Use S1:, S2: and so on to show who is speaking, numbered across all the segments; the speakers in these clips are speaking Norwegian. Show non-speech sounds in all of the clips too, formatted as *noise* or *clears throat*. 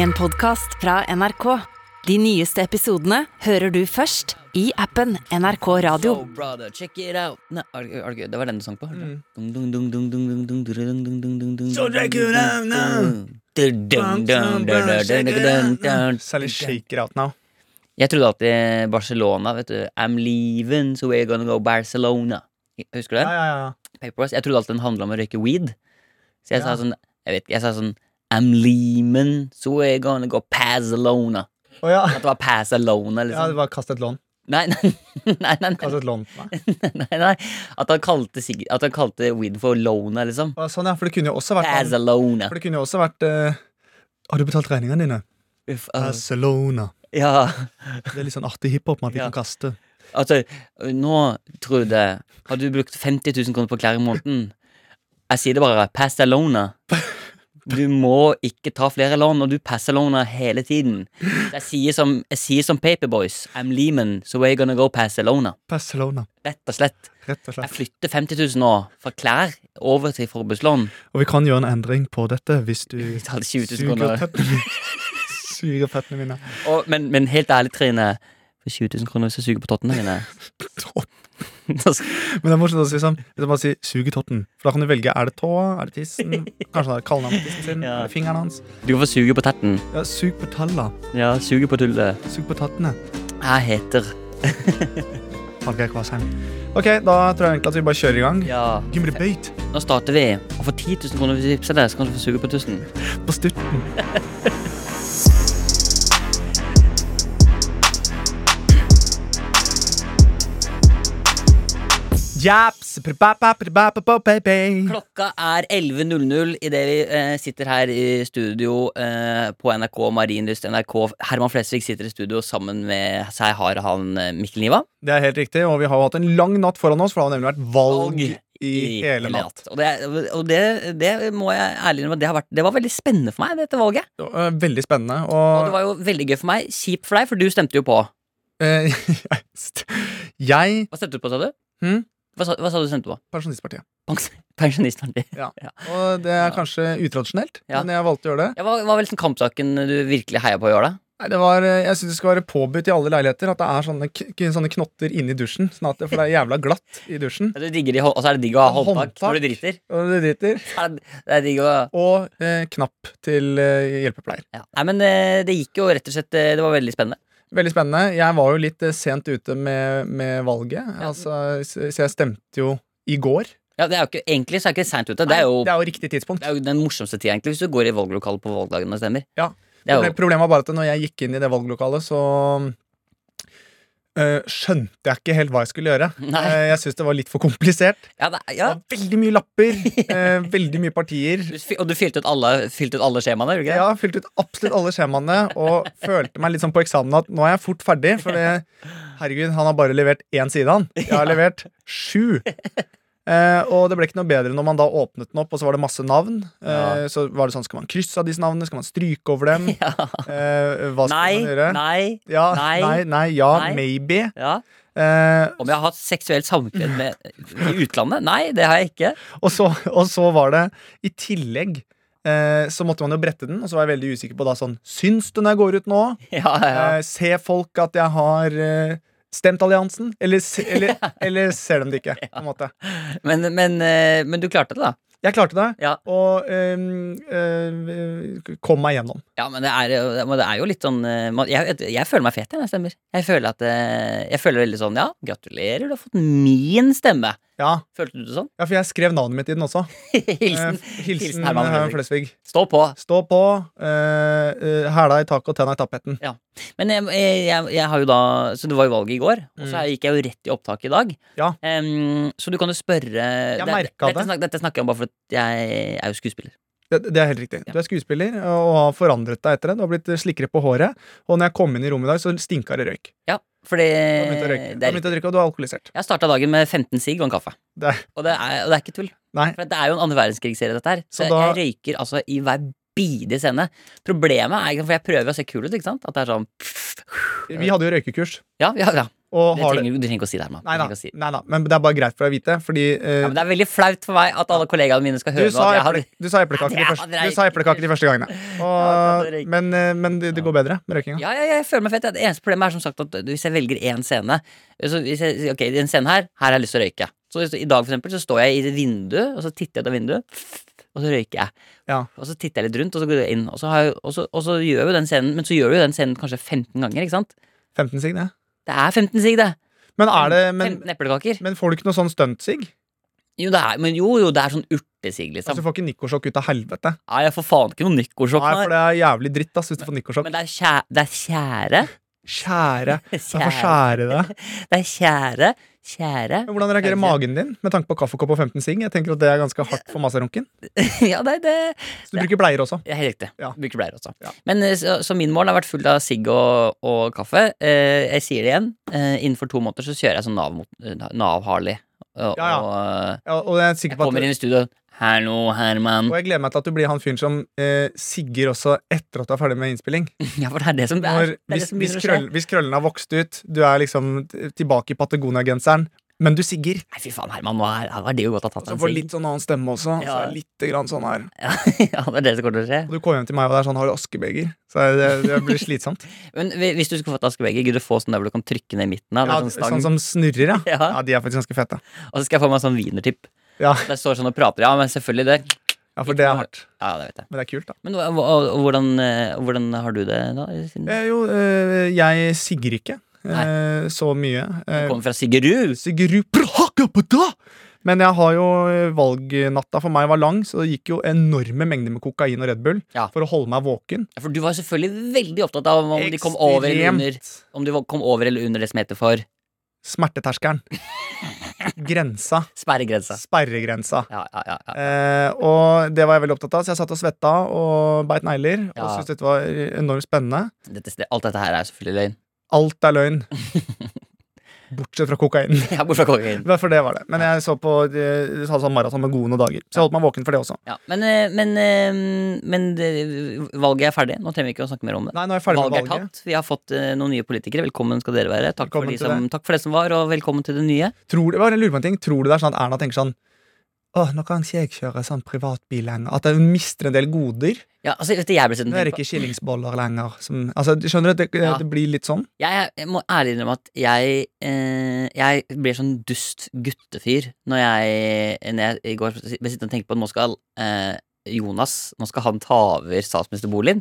S1: En podcast fra NRK. De nyeste episodene hører du først i appen NRK Radio.
S2: So, Oh, brother, check it out. Nei, er, det- er det gøy? Det var den du sang på? Mm. Dung, dung, dung, dung, dung, dung, dung, dung, dung, dung, dung, dung,
S3: So check it out now.
S2: Dung, dung, dung, dung, dung, dung, dung, dung,
S3: Særlig
S2: dung.
S3: shake it out now.
S2: Jeg trodde alltid Barcelona, vet du. I'm leaving, so we're gonna go Barcelona. Husker du
S3: Ja,
S2: den?
S3: ja, ja.
S2: Paperwork. Jeg trodde alltid den handla om å røyke weed. Så jeg sa
S3: Ja.
S2: sånn Jeg vet ikke, jeg sa sånn I'm leaving, so we're gonna go Pazalona.
S3: Å ja.
S2: At det var Pazalona,
S3: ja, det
S2: liksom.
S3: var kast et lån.
S2: Nei, *laughs* nei, nei, nei, nei.
S3: Kast et lån. Nei.
S2: *laughs* nei, nei. At han kalte, sig- at han kalte weed for lona, liksom.
S3: Å, Sånn, ja, for det kunne jo også vært
S2: Pazalona.
S3: For det kunne jo også vært eh, Har du betalt regningene dine?
S2: Uff, ah,
S3: Barcelona.
S2: ja.
S3: Det er litt sånn artig hiphop man
S2: Ja.
S3: kan kaste.
S2: Altså, nå, Trude, har du brukt 50 000 kroner på klær i måneden? Jeg sier det bare. Pazalona. Du må ikke ta flere lån, og du Pazalona hele tiden. Så Jeg sier som, jeg sier som Paperboys. I'm Lehman, so we're gonna go Pazalona.
S3: Barcelona.
S2: Rett og slett.
S3: Rett og
S2: Jeg
S3: slett.
S2: flytter 50 000 nå fra klær over til forbrukslån.
S3: Og vi kan gjøre en endring på dette hvis du
S2: *laughs* Betaler 20 000
S3: suger
S2: kroner.
S3: føttene Suger føttene mine.
S2: Og, men, men helt ærlig, Trine. For 20 000 kroner hvis jeg suger på tottene
S3: *laughs*
S2: mine
S3: Topp.
S2: Da skal-
S3: Men det er morsomt å si sånn. Hvis jeg bare sier 'suger totten', for da kan du velge er det tåa, er det
S2: *laughs*
S3: tissen, kanskje det er kallenavnet på tissen sin,
S2: Ja.
S3: er det fingeren hans.
S2: Du kan få suge på tetten.
S3: Ja, sug på talla.
S2: Ja, suge på tullet.
S3: Sug på tattene.
S2: Jeg heter
S3: Hallgeir Kvasheim. Ok, da tror jeg egentlig at vi bare kjører i gang.
S2: Ja.
S3: Gimle bøyt
S2: Nå starter vi. Og for 10 000 kroner hvis du vippser det, så kan du få suge på tusen.
S3: på *laughs* stutten. Japs, pre-ba-ba-pre-ba-ba-ba-ba-ba.
S2: Klokka er 11.00 idet vi eh, sitter her i studio eh, på NRK Marienlyst NRK. Herman Flesvig sitter i studio sammen med seg har han eh, Mikkel Niva.
S3: Det er helt riktig, og vi har jo hatt en lang natt foran oss, for det har nemlig vært valg
S2: Valg
S3: i hele natt.
S2: Og, det, og det, det må jeg ærlig innrømme, det, har vært- det var veldig spennende for meg, dette valget.
S3: Det var, eh, Veldig spennende.
S2: Og det
S3: Og
S2: var jo veldig gøy for meg. Kjipt for deg, for du stemte jo på.
S3: *laughs* eh, jeg
S2: Hva stemte du på, sa du?
S3: Hm?
S2: Hva, sa, hva sa du stemte på?
S3: Pensjonistpartiet.
S2: Pens- Pensjonistpartiet.
S3: Og det er kanskje utradisjonelt,
S2: Ja.
S3: men jeg valgte å gjøre det.
S2: Ja, hva, hva var liksom kampsaken du virkelig heia på i år, da?
S3: Nei, det var, eh, Jeg syns det skal være påbudt i alle leiligheter at det er sånne, k k- sånne knotter inni dusjen. Sånn at det, for det er jævla glatt i dusjen.
S2: Ja, Du digger de, hå- og så er det digg å ha håndtak,
S3: Håndtak.
S2: når du *laughs* driter.
S3: Og det driter.
S2: Er det- Det er digg å
S3: Og eh, knapp til eh, hjelpepleier.
S2: ja. Nei, men eh, det gikk jo rett og slett eh, Det var veldig spennende.
S3: Veldig spennende. Jeg var jo litt eh, sent ute med, med valget, altså, så så jeg stemte jo i går.
S2: Ja, det er jo ikke, Egentlig så er det ikke seint ute. Det er jo
S3: det er jo riktig tidspunkt.
S2: det er jo den morsomste tida, egentlig, hvis du går i valglokalet på valgdagen og stemmer.
S3: Ja.
S2: Det er jo,
S3: Problemet var bare at når jeg gikk inn i det valglokalet, så eh, skjønte jeg ikke helt hva jeg skulle gjøre.
S2: Nei.
S3: Eh, jeg syns det var litt for komplisert.
S2: ja, det, er- ja.
S3: Det var veldig mye
S2: *laughs*
S3: lapper, eh, veldig mye partier.
S2: Du, fyl- og du fylte ut alle, fylte ut alle skjemaene, gjorde du ikke
S3: Jeg
S2: det?
S3: har fylt ut absolutt alle skjemaene og følte meg litt sånn på eksamen at nå er jeg fort ferdig. For det, herregud, han har bare levert én side, han. Jeg har levert sju. Eh, og det ble ikke noe bedre når man da åpnet den opp, og så var det masse navn. Eh, så var det sånn, Skal man krysse av disse navnene? Skal man stryke over
S2: *laughs*
S3: dem? Eh, hva skal man
S2: Nei,
S3: gjøre?
S2: nei,
S3: Ja,
S2: nei,
S3: nei, nei, ja,
S2: nei.
S3: maybe.
S2: ja.
S3: Eh,
S2: Om jeg har hatt seksuelt samkvem med i utlandet? Nei, det har jeg ikke. *laughs*
S3: Og så, og så var det i tillegg eh, så måtte man jo brette den, og så var jeg veldig usikker på da sånn Syns du når jeg går ut nå?
S2: Ja, ja.
S3: Eh, ser folk at jeg har eh, stemt alliansen? Eller,
S2: *laughs*
S3: se- eller, eller ser de det ikke? På en måte.
S2: Men, men, eh, men du klarte det, da.
S3: Jeg klarte det,
S2: Ja.
S3: og ehm, eh, kom meg gjennom.
S2: Ja, men det er, jo- men det er jo litt sånn eh, man- Jeg, jeg føler meg fet jeg, når jeg stemmer. Jeg føler, at, eh, jeg føler veldig sånn Ja, gratulerer, du har fått min stemme.
S3: Ja.
S2: Følte du det sånn? *laughs*
S3: ja, for jeg skrev navnet mitt i den også.
S2: Hilsen,
S3: Eh, hilsen
S2: Herman
S3: Herman
S2: Flesvig.
S3: Flesvig.
S2: Stå på.
S3: Stå på, eh, eh, hæla i taket og tenna i tapeten.
S2: Men jeg, jeg, jeg har jo da Så det var jo valget i går, og så gikk jeg jo rett i opptak i dag.
S3: Mm. Ja.
S2: Em, så du kan jo spørre
S3: merka
S2: Dette,
S3: det.
S2: snak, dette snakker jeg om bare for at jeg er jo skuespiller.
S3: Det, det er helt riktig. Du er skuespiller og har forandret deg etter det. Du har blitt slikkere på håret. Og når jeg kom inn i rommet i dag, så stinka det røyk.
S2: Ja, for det,
S3: Du har begynt å røyke, du
S2: Eh, det
S3: har
S2: er,
S3: begynt å drikke, og du er alkoholisert.
S2: Jeg starta dagen med 15 sigg og en kaffe.
S3: Det er-
S2: Og, det er, og det er ikke tull.
S3: Nei.
S2: For det er jo en andre verdenskrigsserie, dette her. Så
S3: Så da-
S2: jeg røyker altså i hver bidige scene. Problemet er For jeg prøver å se kul ut, ikke sant? At det er sånn
S3: Vi hadde jo røykekurs,
S2: Ja, ja, ja.
S3: Og
S2: Det
S3: har det
S2: trenger, du trenger ikke å si det, Herman.
S3: Nei
S2: Du
S3: da,
S2: trenger ikke å si det.
S3: nei da, men det er bare greit for deg å vite, fordi eh,
S2: Ja, men det er veldig flaut for meg at alle kollegaene mine skal
S3: du,
S2: høre
S3: sa
S2: at jeg har
S3: eple, du sa
S2: Ja,
S3: eplekaker de
S2: det er
S3: første, du
S2: ikke-
S3: sa eplekaker de første gangene.
S2: Ja, det er
S3: Og,
S2: ikke-
S3: men eh, men det, det går bedre med røykinga.
S2: ja, ja, ja, jeg føler meg fett. Det eneste problemet er som sagt at hvis jeg velger én scene så hvis jeg, sier, Ok, i en scene her Her har jeg lyst til å røyke. Så hvis- I dag for eksempel, så står jeg i et vindu, og så titter jeg ut av vinduet, og så røyker jeg.
S3: Ja.
S2: Og så titter jeg litt rundt, og så går jeg inn. Og så, har jeg, og så, og så gjør jeg jo den scenen Men så gjør du jo den scenen kanskje 15 ganger, ikke sant?
S3: 15 sigg, det.
S2: Det er 15 sigg, det.
S3: Men, er det, men,
S2: 15 eplekaker.
S3: men får du ikke noe sånn stuntsigg?
S2: Jo, det er, men jo, jo, det er sånn urtesigg,
S3: Altså,
S2: liksom.
S3: du får ikke nikosjokk ut av helvete.
S2: Nei, jeg får faen ikke noe nykkordssjokk.
S3: Nei,
S2: nei.
S3: for det er jævlig dritt ass, hvis du får nikosjokk.
S2: Men det er kjære Det er kjære. *laughs*
S3: Kjære. Du får
S2: kjære.
S3: skjære deg.
S2: Det er kjære. Kjære.
S3: Men hvordan reagerer
S2: Kjære.
S3: magen din med tanke på kaffekopp og 15 sigg? Jeg tenker at det er ganske hardt for maserunken.
S2: *laughs* ja, nei, det
S3: Så du bruker bleier også.
S2: er helt riktig.
S3: Ja.
S2: Bruker bleier også.
S3: Ja.
S2: Men eh, så, så min mål har vært full av sigg og, og kaffe. Eh, jeg sier det igjen. Eh, innenfor to måneder så kjører jeg sånn Nav mot- eh, Nav-Harley. og,
S3: Ja, ja.
S2: og eh,
S3: Ja, og jeg er sikker
S2: jeg
S3: på at
S2: kommer inn i studio Hallo, Herman.
S3: Og jeg gleder meg til at du blir han fyren som eh, sigger også etter at du er ferdig med innspilling.
S2: *laughs* Ja, for det er det som det er.
S3: Når,
S2: det er
S3: hvis,
S2: det som
S3: hvis,
S2: begynner å skje.
S3: krøll, hvis krøllene har vokst ut, du er liksom t- tilbake i Patagonia-genseren, men du sigger.
S2: Nei, fy faen, Herman. Nå er, var det jo godt å ha tatt
S3: Så
S2: en
S3: får du
S2: sigg.
S3: litt sånn annen stemme også. Så
S2: Ja.
S3: er det litt grann sånn her.
S2: *laughs* ja, det er det som kommer til å skje.
S3: Og du kommer hjem til meg, og det er sånn Har du askebeger? Så er det, det blir slitsomt. *laughs*
S2: Men hvi- hvis du skulle fått askebeger, gidder du få sånn der hvor du kan trykke ned i midten av? Ja,
S3: Ja,
S2: sånn stang.
S3: sånn som snurrer, ja.
S2: *laughs* ja.
S3: Ja, De er faktisk ganske fete.
S2: Og så skal jeg få meg sånn wienertipp.
S3: Ja.
S2: Der står sånn og prater. Ja, men selvfølgelig det.
S3: Ja, For det er hardt.
S2: Ja, det vet jeg.
S3: Men det er kult, da.
S2: Men hva- hva- hvordan, eh, hvordan har du det da? Siden
S3: Eh, jo, eh, jeg sigger ikke eh, så mye.
S2: du
S3: Eh,
S2: kommer fra Siggerud?
S3: Sigurd Prahakapata! Men jeg har jo eh, valgnatta for meg var lang, så det gikk jo enorme mengder med kokain og Red Bull
S2: Ja.
S3: for å holde meg våken.
S2: For du var selvfølgelig veldig opptatt av om de kom over eller under
S3: Ekstremt
S2: Om de var- kom over eller under det som heter for
S3: Smerteterskelen. Grensa.
S2: sperregrensa.
S3: Sperregrensa.
S2: Ja, ja, ja, ja.
S3: Eh, og det var jeg veldig opptatt av, så jeg satt og svetta og beit negler. Og
S2: Ja.
S3: syntes dette var enormt spennende.
S2: Dette, alt dette her er selvfølgelig løgn. *laughs*
S3: Alt er løgn. Bortsett fra kokainen.
S2: Ja, bortsett fra kokain.
S3: Men For det var det. Men jeg så på eh, hadde sånn maraton med gode noen dager. Så jeg holdt meg våken for det også.
S2: Ja, men, eh, men, eh, men eh, valget er ferdig. Nå trenger vi ikke å snakke mer om det.
S3: Nei, nå er jeg ferdig
S2: valget
S3: med
S2: er
S3: valget.
S2: tatt. Vi har fått eh, noen nye politikere. Velkommen skal dere være. Takk, for
S3: Velkommen
S2: de
S3: til
S2: som, takk for det som var, og velkommen til det nye.
S3: Tror du, bare lurer på en ting. Tror du det er sånn at Erna tenker sånn Åh, nå kan ikke jeg kjøre sånn privatbil lenger. At hun mister en del goder.
S2: Ja, altså, vet du, jeg ble
S3: Nå
S2: sittende
S3: er det ikke skillingsboller lenger. Som, altså, du skjønner du at det,
S2: Ja.
S3: det blir litt sånn?
S2: Jeg, jeg må ærlig innrømme at jeg, eh, jeg blir sånn dust guttefyr når jeg, når jeg i går ble sittende og tenke på at nå skal eh, Jonas Nå skal han ta over statsministerboligen.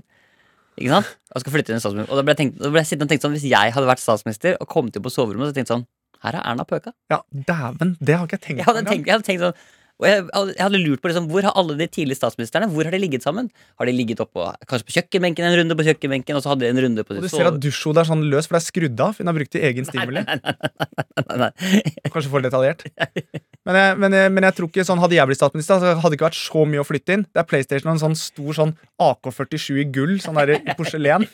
S2: Ikke sant? Og skal flytte inn i statsminister Og da ble jeg, tenkt, da ble jeg sittende og tenkt sånn Hvis jeg hadde vært statsminister og kommet inn på soverommet, så tenkte jeg sånn Her har Erna pøka.
S3: Ja, dæven. Det har ikke jeg tenkt
S2: Jeg hadde
S3: engang.
S2: tenkt, jeg hadde tenkt sånn og jeg, hadde- jeg hadde lurt på liksom, Hvor har alle de tidlige statsministerne Hvor har de ligget sammen? Har de ligget oppå Kanskje på kjøkkenbenken en runde på kjøkkenbenken, og så hadde de en runde på
S3: Og du ser at
S2: sove-
S3: dusjhodet er sånn løs, for det er skrudd av. for Hun har brukt i egen stimuli.
S2: Nei, nei.
S3: Kanskje for detaljert. Men jeg, men, jeg, men jeg tror ikke sånn hadde jeg blitt statsminister, så hadde det ikke vært så mye å flytte inn. Det er PlayStation og en sånn stor sånn AK-47 i gull, sånn der i porselen.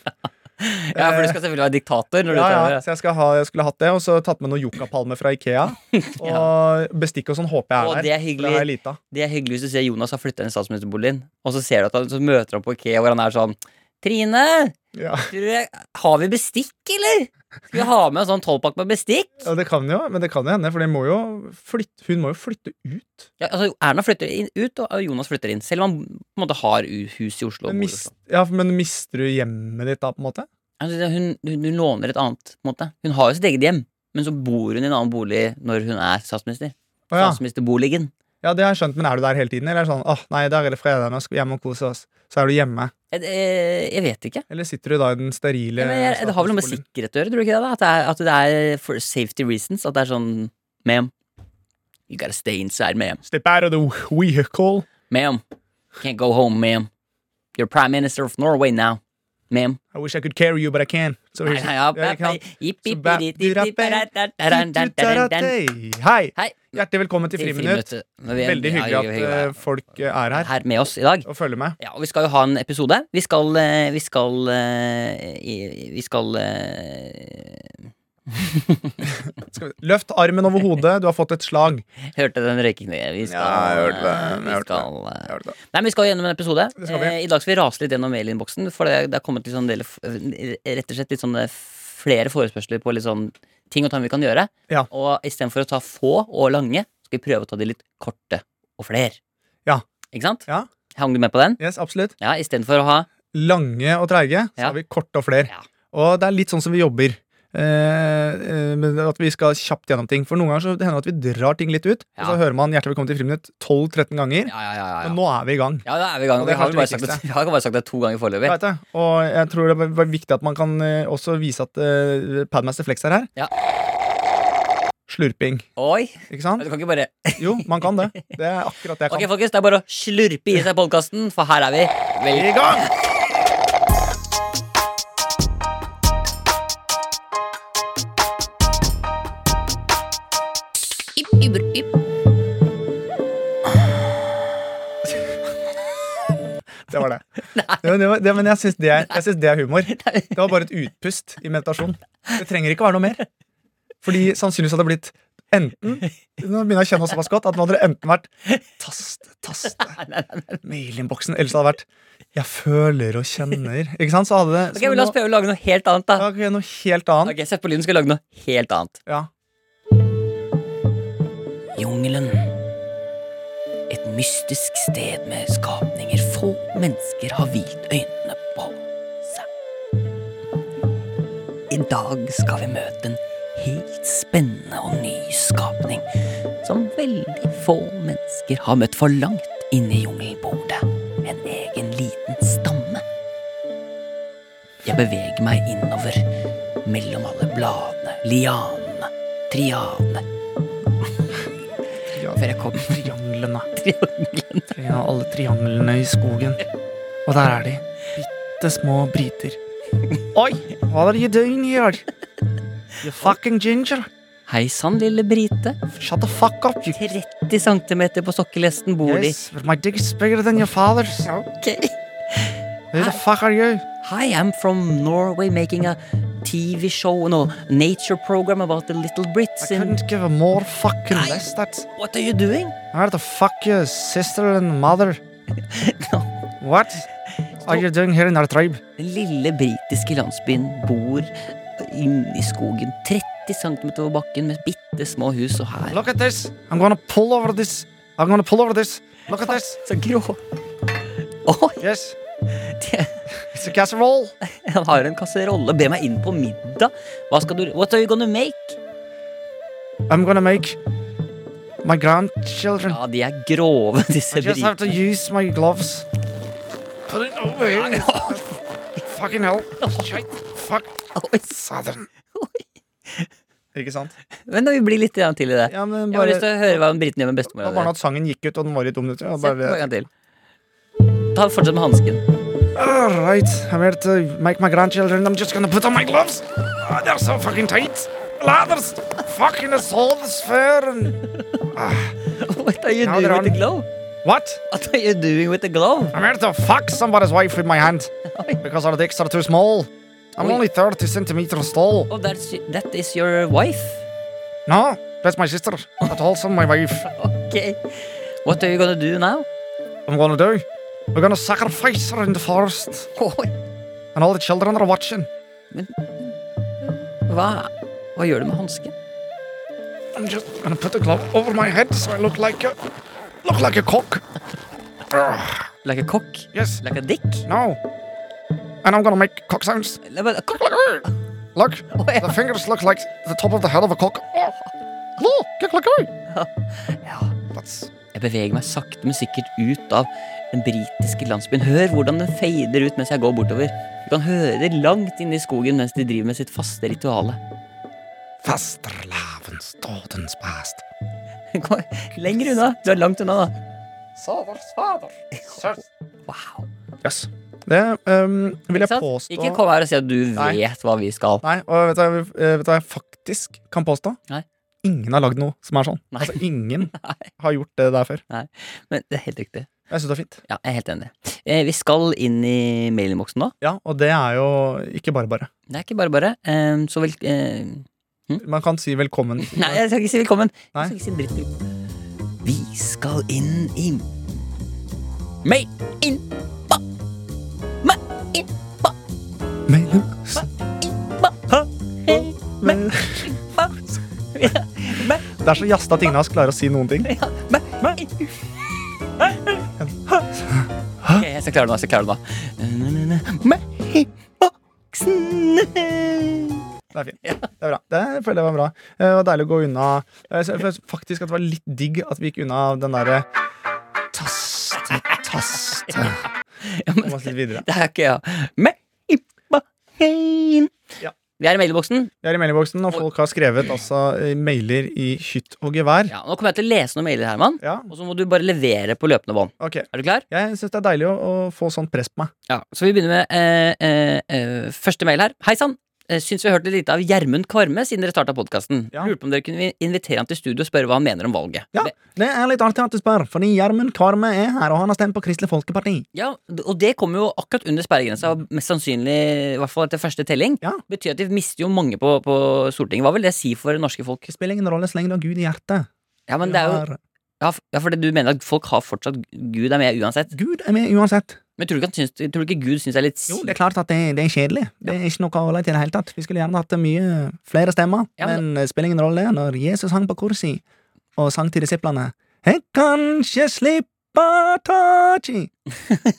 S2: Ja, for du skal selvfølgelig være diktator *laughs* når du
S3: Eh,
S2: altså. tar
S3: Ja, ja,
S2: over.
S3: så jeg, skal ha, jeg skulle hatt det, og så tatt med noen yuccapalmer fra Ikea.
S2: *laughs*
S3: Og bestikk og sånn håper jeg er
S2: Å,
S3: der.
S2: det er
S3: for
S2: hyggelig.
S3: Det har jeg lite av.
S2: Det er hyggelig hvis du ser Jonas har flytta inn i statsministerboligen, og så ser du at han, så møter han på IKEA hvor han er sånn Trine,
S3: Ja.
S2: tror du, har vi bestikk, eller? Skal vi ha med en sånn tolvpakk med bestikk?
S3: ja, det kan jo, men det kan jo hende, for de må jo flytte, hun må jo flytte ut.
S2: Ja, altså, Erna flytter inn, ut, og Jonas flytter inn. Selv om han på en måte har u- hus i Oslo. og bor i
S3: Men, mis,
S2: Oslo.
S3: ja, men mister du hjemmet ditt da, på en måte?
S2: Altså, hun, hun, hun låner et annet. på en måte Hun har jo sitt eget hjem, men så bor hun i en annen bolig når hun er statsminister.
S3: Å, ja.
S2: Statsministerboligen.
S3: ja, det har jeg skjønt, men er du der hele tiden? Eller er det sånn, åh, nei, der er det fredag, nå skal vi hjem og kose oss. Så er du hjemme.
S2: Jeg, jeg, jeg vet ikke.
S3: Eller sitter du da i den sterile
S2: Ja, men jeg, det har vel noe med
S3: statsboligen?
S2: sikkerhet å gjøre, tror du ikke det? da? At det er, at det er for safety reasons. At det er sånn Ma'am, you gotta stay inside, ma'am.
S3: Step out of the vehicle.
S2: Ma'am, can't go home, ma'am. You're prime minister of Norway now, ma'am.
S3: I wish I could carry you, but I can't. So
S2: Nei,
S3: here's-
S2: nei, ja,
S3: Ja, ikke sant?
S2: jipp,
S3: Så
S2: jipp,
S3: bap,
S2: jipp,
S3: du
S2: jipp,
S3: rapper.
S2: jipp, da, da, da, da, da, da, da.
S3: Hei!
S2: Hei.
S3: Hjertelig velkommen til
S2: Til
S3: Friminutt.
S2: Friminutt.
S3: Veldig hyggelig at eh, folk eh, er her
S2: her med oss i dag.
S3: og følger med.
S2: Ja, og vi skal jo ha en episode. Vi skal eh, Vi skal eh, i- Vi skal eh, *laughs*
S3: Skal vi- Løft armen over hodet, du har fått et slag.
S2: Hørte den røykingen? Vi skal,
S3: Ja, jeg hørte det,
S2: eh,
S3: jeg
S2: Vi
S3: hørte det.
S2: skal eh,
S3: Jeg hørte det.
S2: Nei, men Vi skal gjennom en episode.
S3: Det skal vi.
S2: Eh, I dag skal vi rase litt gjennom mailinnboksen. For det, det er kommet litt sånn del, f- rett og slett litt sånne flere forespørsler på litt sånn ting og tang vi kan gjøre.
S3: Ja.
S2: Og istedenfor å ta få og lange, skal vi prøve å ta de litt korte og flere.
S3: Ja.
S2: Ikke sant?
S3: Ja.
S2: Hang du med på den?
S3: Yes, absolutt.
S2: Ja, istedenfor å ha
S3: Lange og treige, så
S2: Ja.
S3: har vi korte og flere.
S2: Ja.
S3: Og det er litt sånn som vi jobber. Eh, eh, men at vi skal kjapt gjennom ting. For noen ganger så det hender det at vi drar ting litt ut, og
S2: Ja.
S3: så hører man 'Hjertelig velkommen til friminutt' 12-13 ganger.
S2: Ja, ja, ja. ja,
S3: Men
S2: ja.
S3: nå er vi i gang.
S2: ja da er vi i gang.
S3: Og det
S2: Vi
S3: er
S2: har
S3: kanskje
S2: vel bare
S3: det
S2: sagt det,
S3: viktigste.
S2: vi har bare sagt det to ganger
S3: Jeg
S2: foreløpig.
S3: vet det. Og jeg tror det var viktig at man kan eh, også vise at eh, Padmaster Flex er her.
S2: Ja.
S3: Slurping,
S2: Oi!
S3: ikke sant?
S2: Du kan ikke bare
S3: Jo, man kan det. Det er akkurat det jeg
S2: Ok,
S3: kan.
S2: folkens, det er bare å slurpe i seg podkasten, for her er vi. Vel
S3: I gang! Det
S2: *laughs*
S3: var det. Jo, det, var, det men jeg syns det, er- jeg syns det er humor. Det var bare et utpust i meditasjon. Det trenger ikke være noe mer. Fordi sannsynligvis hadde det blitt enten Nå begynner jeg å kjenne oss såpass godt at nå hadde det enten vært taste, taste, mailinnboksen, eller så hadde det vært jeg føler og kjenner. Ikke sant? Så hadde
S2: Ok,
S3: det
S2: men La oss
S3: så nå-
S2: prøve å lage noe helt annet, da.
S3: ja, ok, Noe helt annet.
S2: Ok, Sett på lyden, skal vi lage noe helt annet.
S3: Ja.
S2: Jungelen. Et mystisk sted med skapninger få mennesker har hvilt øynene på seg. I dag skal vi møte en helt spennende og ny skapning som veldig få mennesker har møtt for langt inne i jungelen bor det en egen liten stamme. Jeg beveger meg innover mellom alle bladene, lianene, trianene,
S3: ja.
S2: før jeg kommer
S3: Trianglene.
S2: triangelen.
S3: Tre av alle trianglene i skogen. Og der er de. Bitte små briter. Oi! Hva er det du gjør? You fucking ginger.
S2: Hei sann, lille Brite.
S3: Shut the fuck up, you
S2: 30 cm på sokkelesten bor de.
S3: Yes, but my dick is bigger than your father's.
S2: Ok.
S3: Who the fuck are you?
S2: Hi, I'm from Norway making a TV show, no, nature program about the little
S3: I
S2: Brits in
S3: couldn't give a more fucking
S2: Nei.
S3: less that.
S2: What are you doing?
S3: Where the fuck your sister and mother?
S2: *laughs* No.
S3: What are you doing here in our tribe?
S2: Den lille britiske landsbyen bor inni skogen. 30 cm over bakken med bitte små hus, og her
S3: Look at this. I'm gonna pull over this. I'm gonna pull over this. Look at this.
S2: Så grå. Oi,
S3: Yes,
S2: det-
S3: it's a casserole.
S2: han har en kasserolle. Be meg inn på middag. Hva skal du What are you gonna make?
S3: I'm gonna make my grandchildren.
S2: Ja, de er grove, disse
S3: I just have to
S2: britene.
S3: use my gloves. Put it over here. Fucking hell. Shit. Fuck.
S2: Oi,
S3: Southern. Ikke sant?
S2: Men da, vi blir litt grann til i det.
S3: Ja, men
S2: Jeg har
S3: bare,
S2: lyst til å høre hva britene gjør med bestemora
S3: bare at sangen gikk ut, og den var i to minutter. og
S2: Sett på en
S3: Bare,
S2: gang til. Ta Fortsett med hansken. *laughs*
S3: All right, I'm here to make my grandchildren. I'm just gonna put on my gloves. Ah, they're so fucking tight. Ladders. Fucking assaults fair. And...
S2: What are you
S3: Ja,
S2: doing
S3: dere har
S2: with the
S3: den.
S2: glove?
S3: What?
S2: What are you doing with the glove?
S3: I'm here to fuck somebody's wife with my hand because our dicks are too small. I'm
S2: Oi.
S3: only 30 centimeters tall.
S2: Oh, that's, that is your wife.
S3: No, that's my sister. That's also my wife.
S2: Ok. What are you gonna do now? *laughs*
S3: I'm gonna do. We're gonna sacrifice her in the forest,
S2: Oi.
S3: and all the children are watching.
S2: Hva, hva gjør du med hansken?
S3: I'm just gonna put the glove over my head so I look like a look like a cock. Ugh,
S2: Like a cock?
S3: yes.
S2: Like a dick?
S3: No. And I'm gonna make cock sounds.
S2: Like a cock?
S3: Look,
S2: Oi.
S3: the fingers look like the top of the head of a cock. Look, look like I.
S2: Ja.
S3: That's
S2: Jeg beveger meg sakte, men sikkert ut av den britiske landsbyen. Hør hvordan den feider ut mens jeg går bortover. Du kan høre det langt inne i skogen mens de driver med sitt faste rituale.
S3: fasterlavens dodens past.
S2: *laughs* Gå lenger unna. Du er langt unna, da.
S3: Saders fader.
S2: Wow.
S3: Yes. Det ehm, vil jeg
S2: Ikke sant?
S3: påstå
S2: Ikke kom her og si at du
S3: Nei.
S2: vet hva vi skal.
S3: Nei, og vet du, hva jeg- eh, vet du hva jeg faktisk kan påstå?
S2: Nei.
S3: Ingen har lagd noe som er sånn.
S2: *laughs* Nei.
S3: Altså, ingen har gjort det der før.
S2: Men det er helt riktig.
S3: Jeg syns det er fint.
S2: Ja, jeg er helt enig. Eh, vi skal inn i mailinnboksen nå.
S3: Ja, Og det er jo ikke bare bare.
S2: Det er ikke bare bare. Eh, så vel... Eh,
S3: Man kan si velkommen.
S2: nei, jeg skal ikke si velkommen.
S3: Nei.
S2: Jeg skal ikke si dritt. Vi skal inn i Mailinnba. Mailinnba.
S3: Men, men,
S2: Mailinnba.
S3: Det er så jazza at ingen av oss klarer å si noen ting.
S2: Ok, jeg skal klare det nå. jeg skal klare det nå
S3: Det er fint. Det er bra. Det føler jeg var bra. Eh, Det var deilig å gå unna. Eh, Jeg synes faktisk at det var litt digg at vi gikk unna den derre taste, taste.
S2: *laughs* Ja,
S3: Kom oss litt videre.
S2: Det er ikke ja. Med Ibahein.
S3: Ja.
S2: Vi er i mailboksen.
S3: Vi er i mailboksen, og folk har skrevet altså eh, mailer i hytt og gevær.
S2: Ja, nå kommer jeg til å lese noen mailer, Herman.
S3: Ja,
S2: Og så må du bare levere på løpende bånd.
S3: ok.
S2: Er du klar?
S3: Jeg syns det er deilig å, å få sånt press på meg.
S2: Ja, Så vi begynner med eh, eh, eh, første mail her. Hei sann! Eh, Syns vi har hørt litt lite av Gjermund Kvarme siden dere starta podkasten.
S3: Ja.
S2: Lurte på om dere kunne invitere ham til studio og spørre hva han mener om valget.
S3: Ja.
S2: Det-
S3: Det er litt artig at du spør, fordi Gjermund Kvarme er her, og han har stemt på Kristelig Folkeparti.
S2: ja, Og det kommer jo akkurat under sperregrensa, og mest sannsynlig i hvert fall etter første telling.
S3: Ja.
S2: Betyr at de mister jo mange på, på Stortinget. Hva vil det si for norske folk?
S3: Det spiller ingen rolle så lenge du har Gud i hjertet.
S2: Ja, men
S3: Du
S2: det er jo
S3: har-
S2: Ja, f- ja, for det, du mener at folk har fortsatt Gud er med uansett.
S3: Gud er med uansett.
S2: Men tror du ikke, han syns, tror du ikke Gud syns det er litt
S3: Jo, det er klart at det, det er kjedelig. Det er ikke noe å holde til i det hele tatt. Vi skulle gjerne hatt mye flere stemmer,
S2: Ja, men-
S3: men det spiller ingen rolle når Jesus hang på korset og sang til disiplene Jeg kan ikke slippe taket.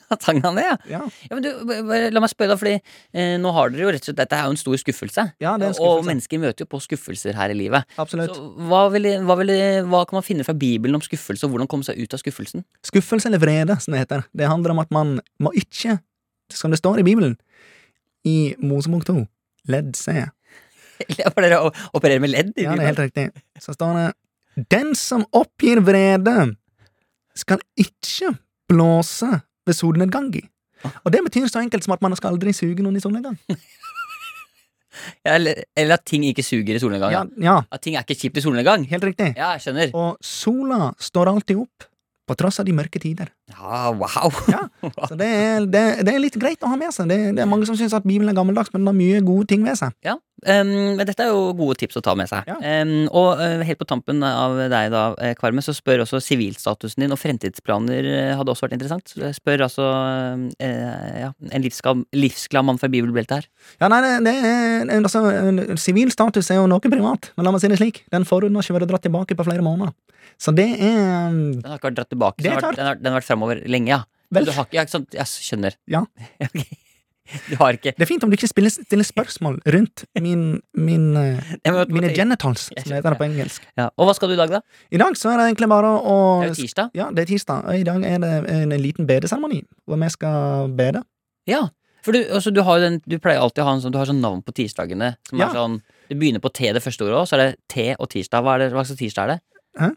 S2: at han kan det? Ja.
S3: Ja,
S2: ja, men du, b- bare La meg spørre, da, fordi eh, nå har dere jo rett og slett Dette er jo en stor skuffelse.
S3: ja, det er en
S2: Og
S3: skuffelse.
S2: mennesker møter jo på skuffelser her i livet.
S3: Absolutt.
S2: Så hva, vil, hva, vil, hva kan man finne fra Bibelen om skuffelse, og hvordan komme seg ut av skuffelsen? *laughs*
S3: Skuffelse eller vrede, som det heter. Det handler om at man må ikke, som det står i Bibelen, i Mosebok 2, ledd C.
S2: Eller for dere å- opererer med ledd? i
S3: Ja, det er
S2: Bibelen.
S3: helt riktig. Så står det Den som oppgir vrede, skal ikke blåse ved solnedgang i. Og det betyr så enkelt som at man skal aldri suge noen i solnedgang.
S2: Ja, eller, eller at ting ikke suger i solnedgang.
S3: Ja,
S2: Ja.
S3: ja
S2: At ting er ikke kjipt i solnedgang.
S3: helt riktig.
S2: Ja, jeg skjønner.
S3: Og sola står alltid opp, på tross av de mørke tider.
S2: Ja, wow.
S3: *laughs* Ja. Så det er, det, det er litt greit å ha med seg. Det, det er mange som syns at Bibelen er gammeldags, men den har mye gode ting ved seg.
S2: Ja, ehm, men dette er jo gode tips å ta med seg.
S3: Ja.
S2: Ehm, og eh, helt på tampen av deg da, eh, Kvarme, så spør også sivilstatusen din og fremtidsplaner eh, hadde også vært interessant. Så jeg Spør altså eh, ja, en livsglad, livsglad mann fra bibelbeltet her.
S3: Ja, nei, det, det er, altså, Sivil status er jo noe privat, men la meg si det slik. Den får hun ikke vært dratt tilbake på flere måneder. Så det er
S2: Den har ikke vært dratt tilbake, så
S3: Det
S2: den
S3: er
S2: har, vært-
S3: klart.
S2: den har, den har vært framover lenge, ja.
S3: Vel.
S2: Du har ikke, ja, ikke sant, jeg skjønner.
S3: Ja.
S2: *laughs* Ok. Du har ikke
S3: Det er fint om du ikke spiller, stiller spørsmål rundt min, min, eh,
S2: *laughs* Nei, men-
S3: mine genitals, som det heter på engelsk.
S2: ja. Og hva skal du i dag, da?
S3: I dag så er det egentlig bare å
S2: Det er jo tirsdag.
S3: Ja, det er tirsdag. Og i dag er det en liten bedeseremoni, hvor vi skal bede.
S2: Ja. For du, altså, du, har jo den, du pleier alltid å ha en sånn, du har sånn navn på tirsdagene som
S3: Ja.
S2: er sånn Det begynner på T det første ordet òg, så er det T og tirsdag. Hva, er det, hva slags tirsdag er det?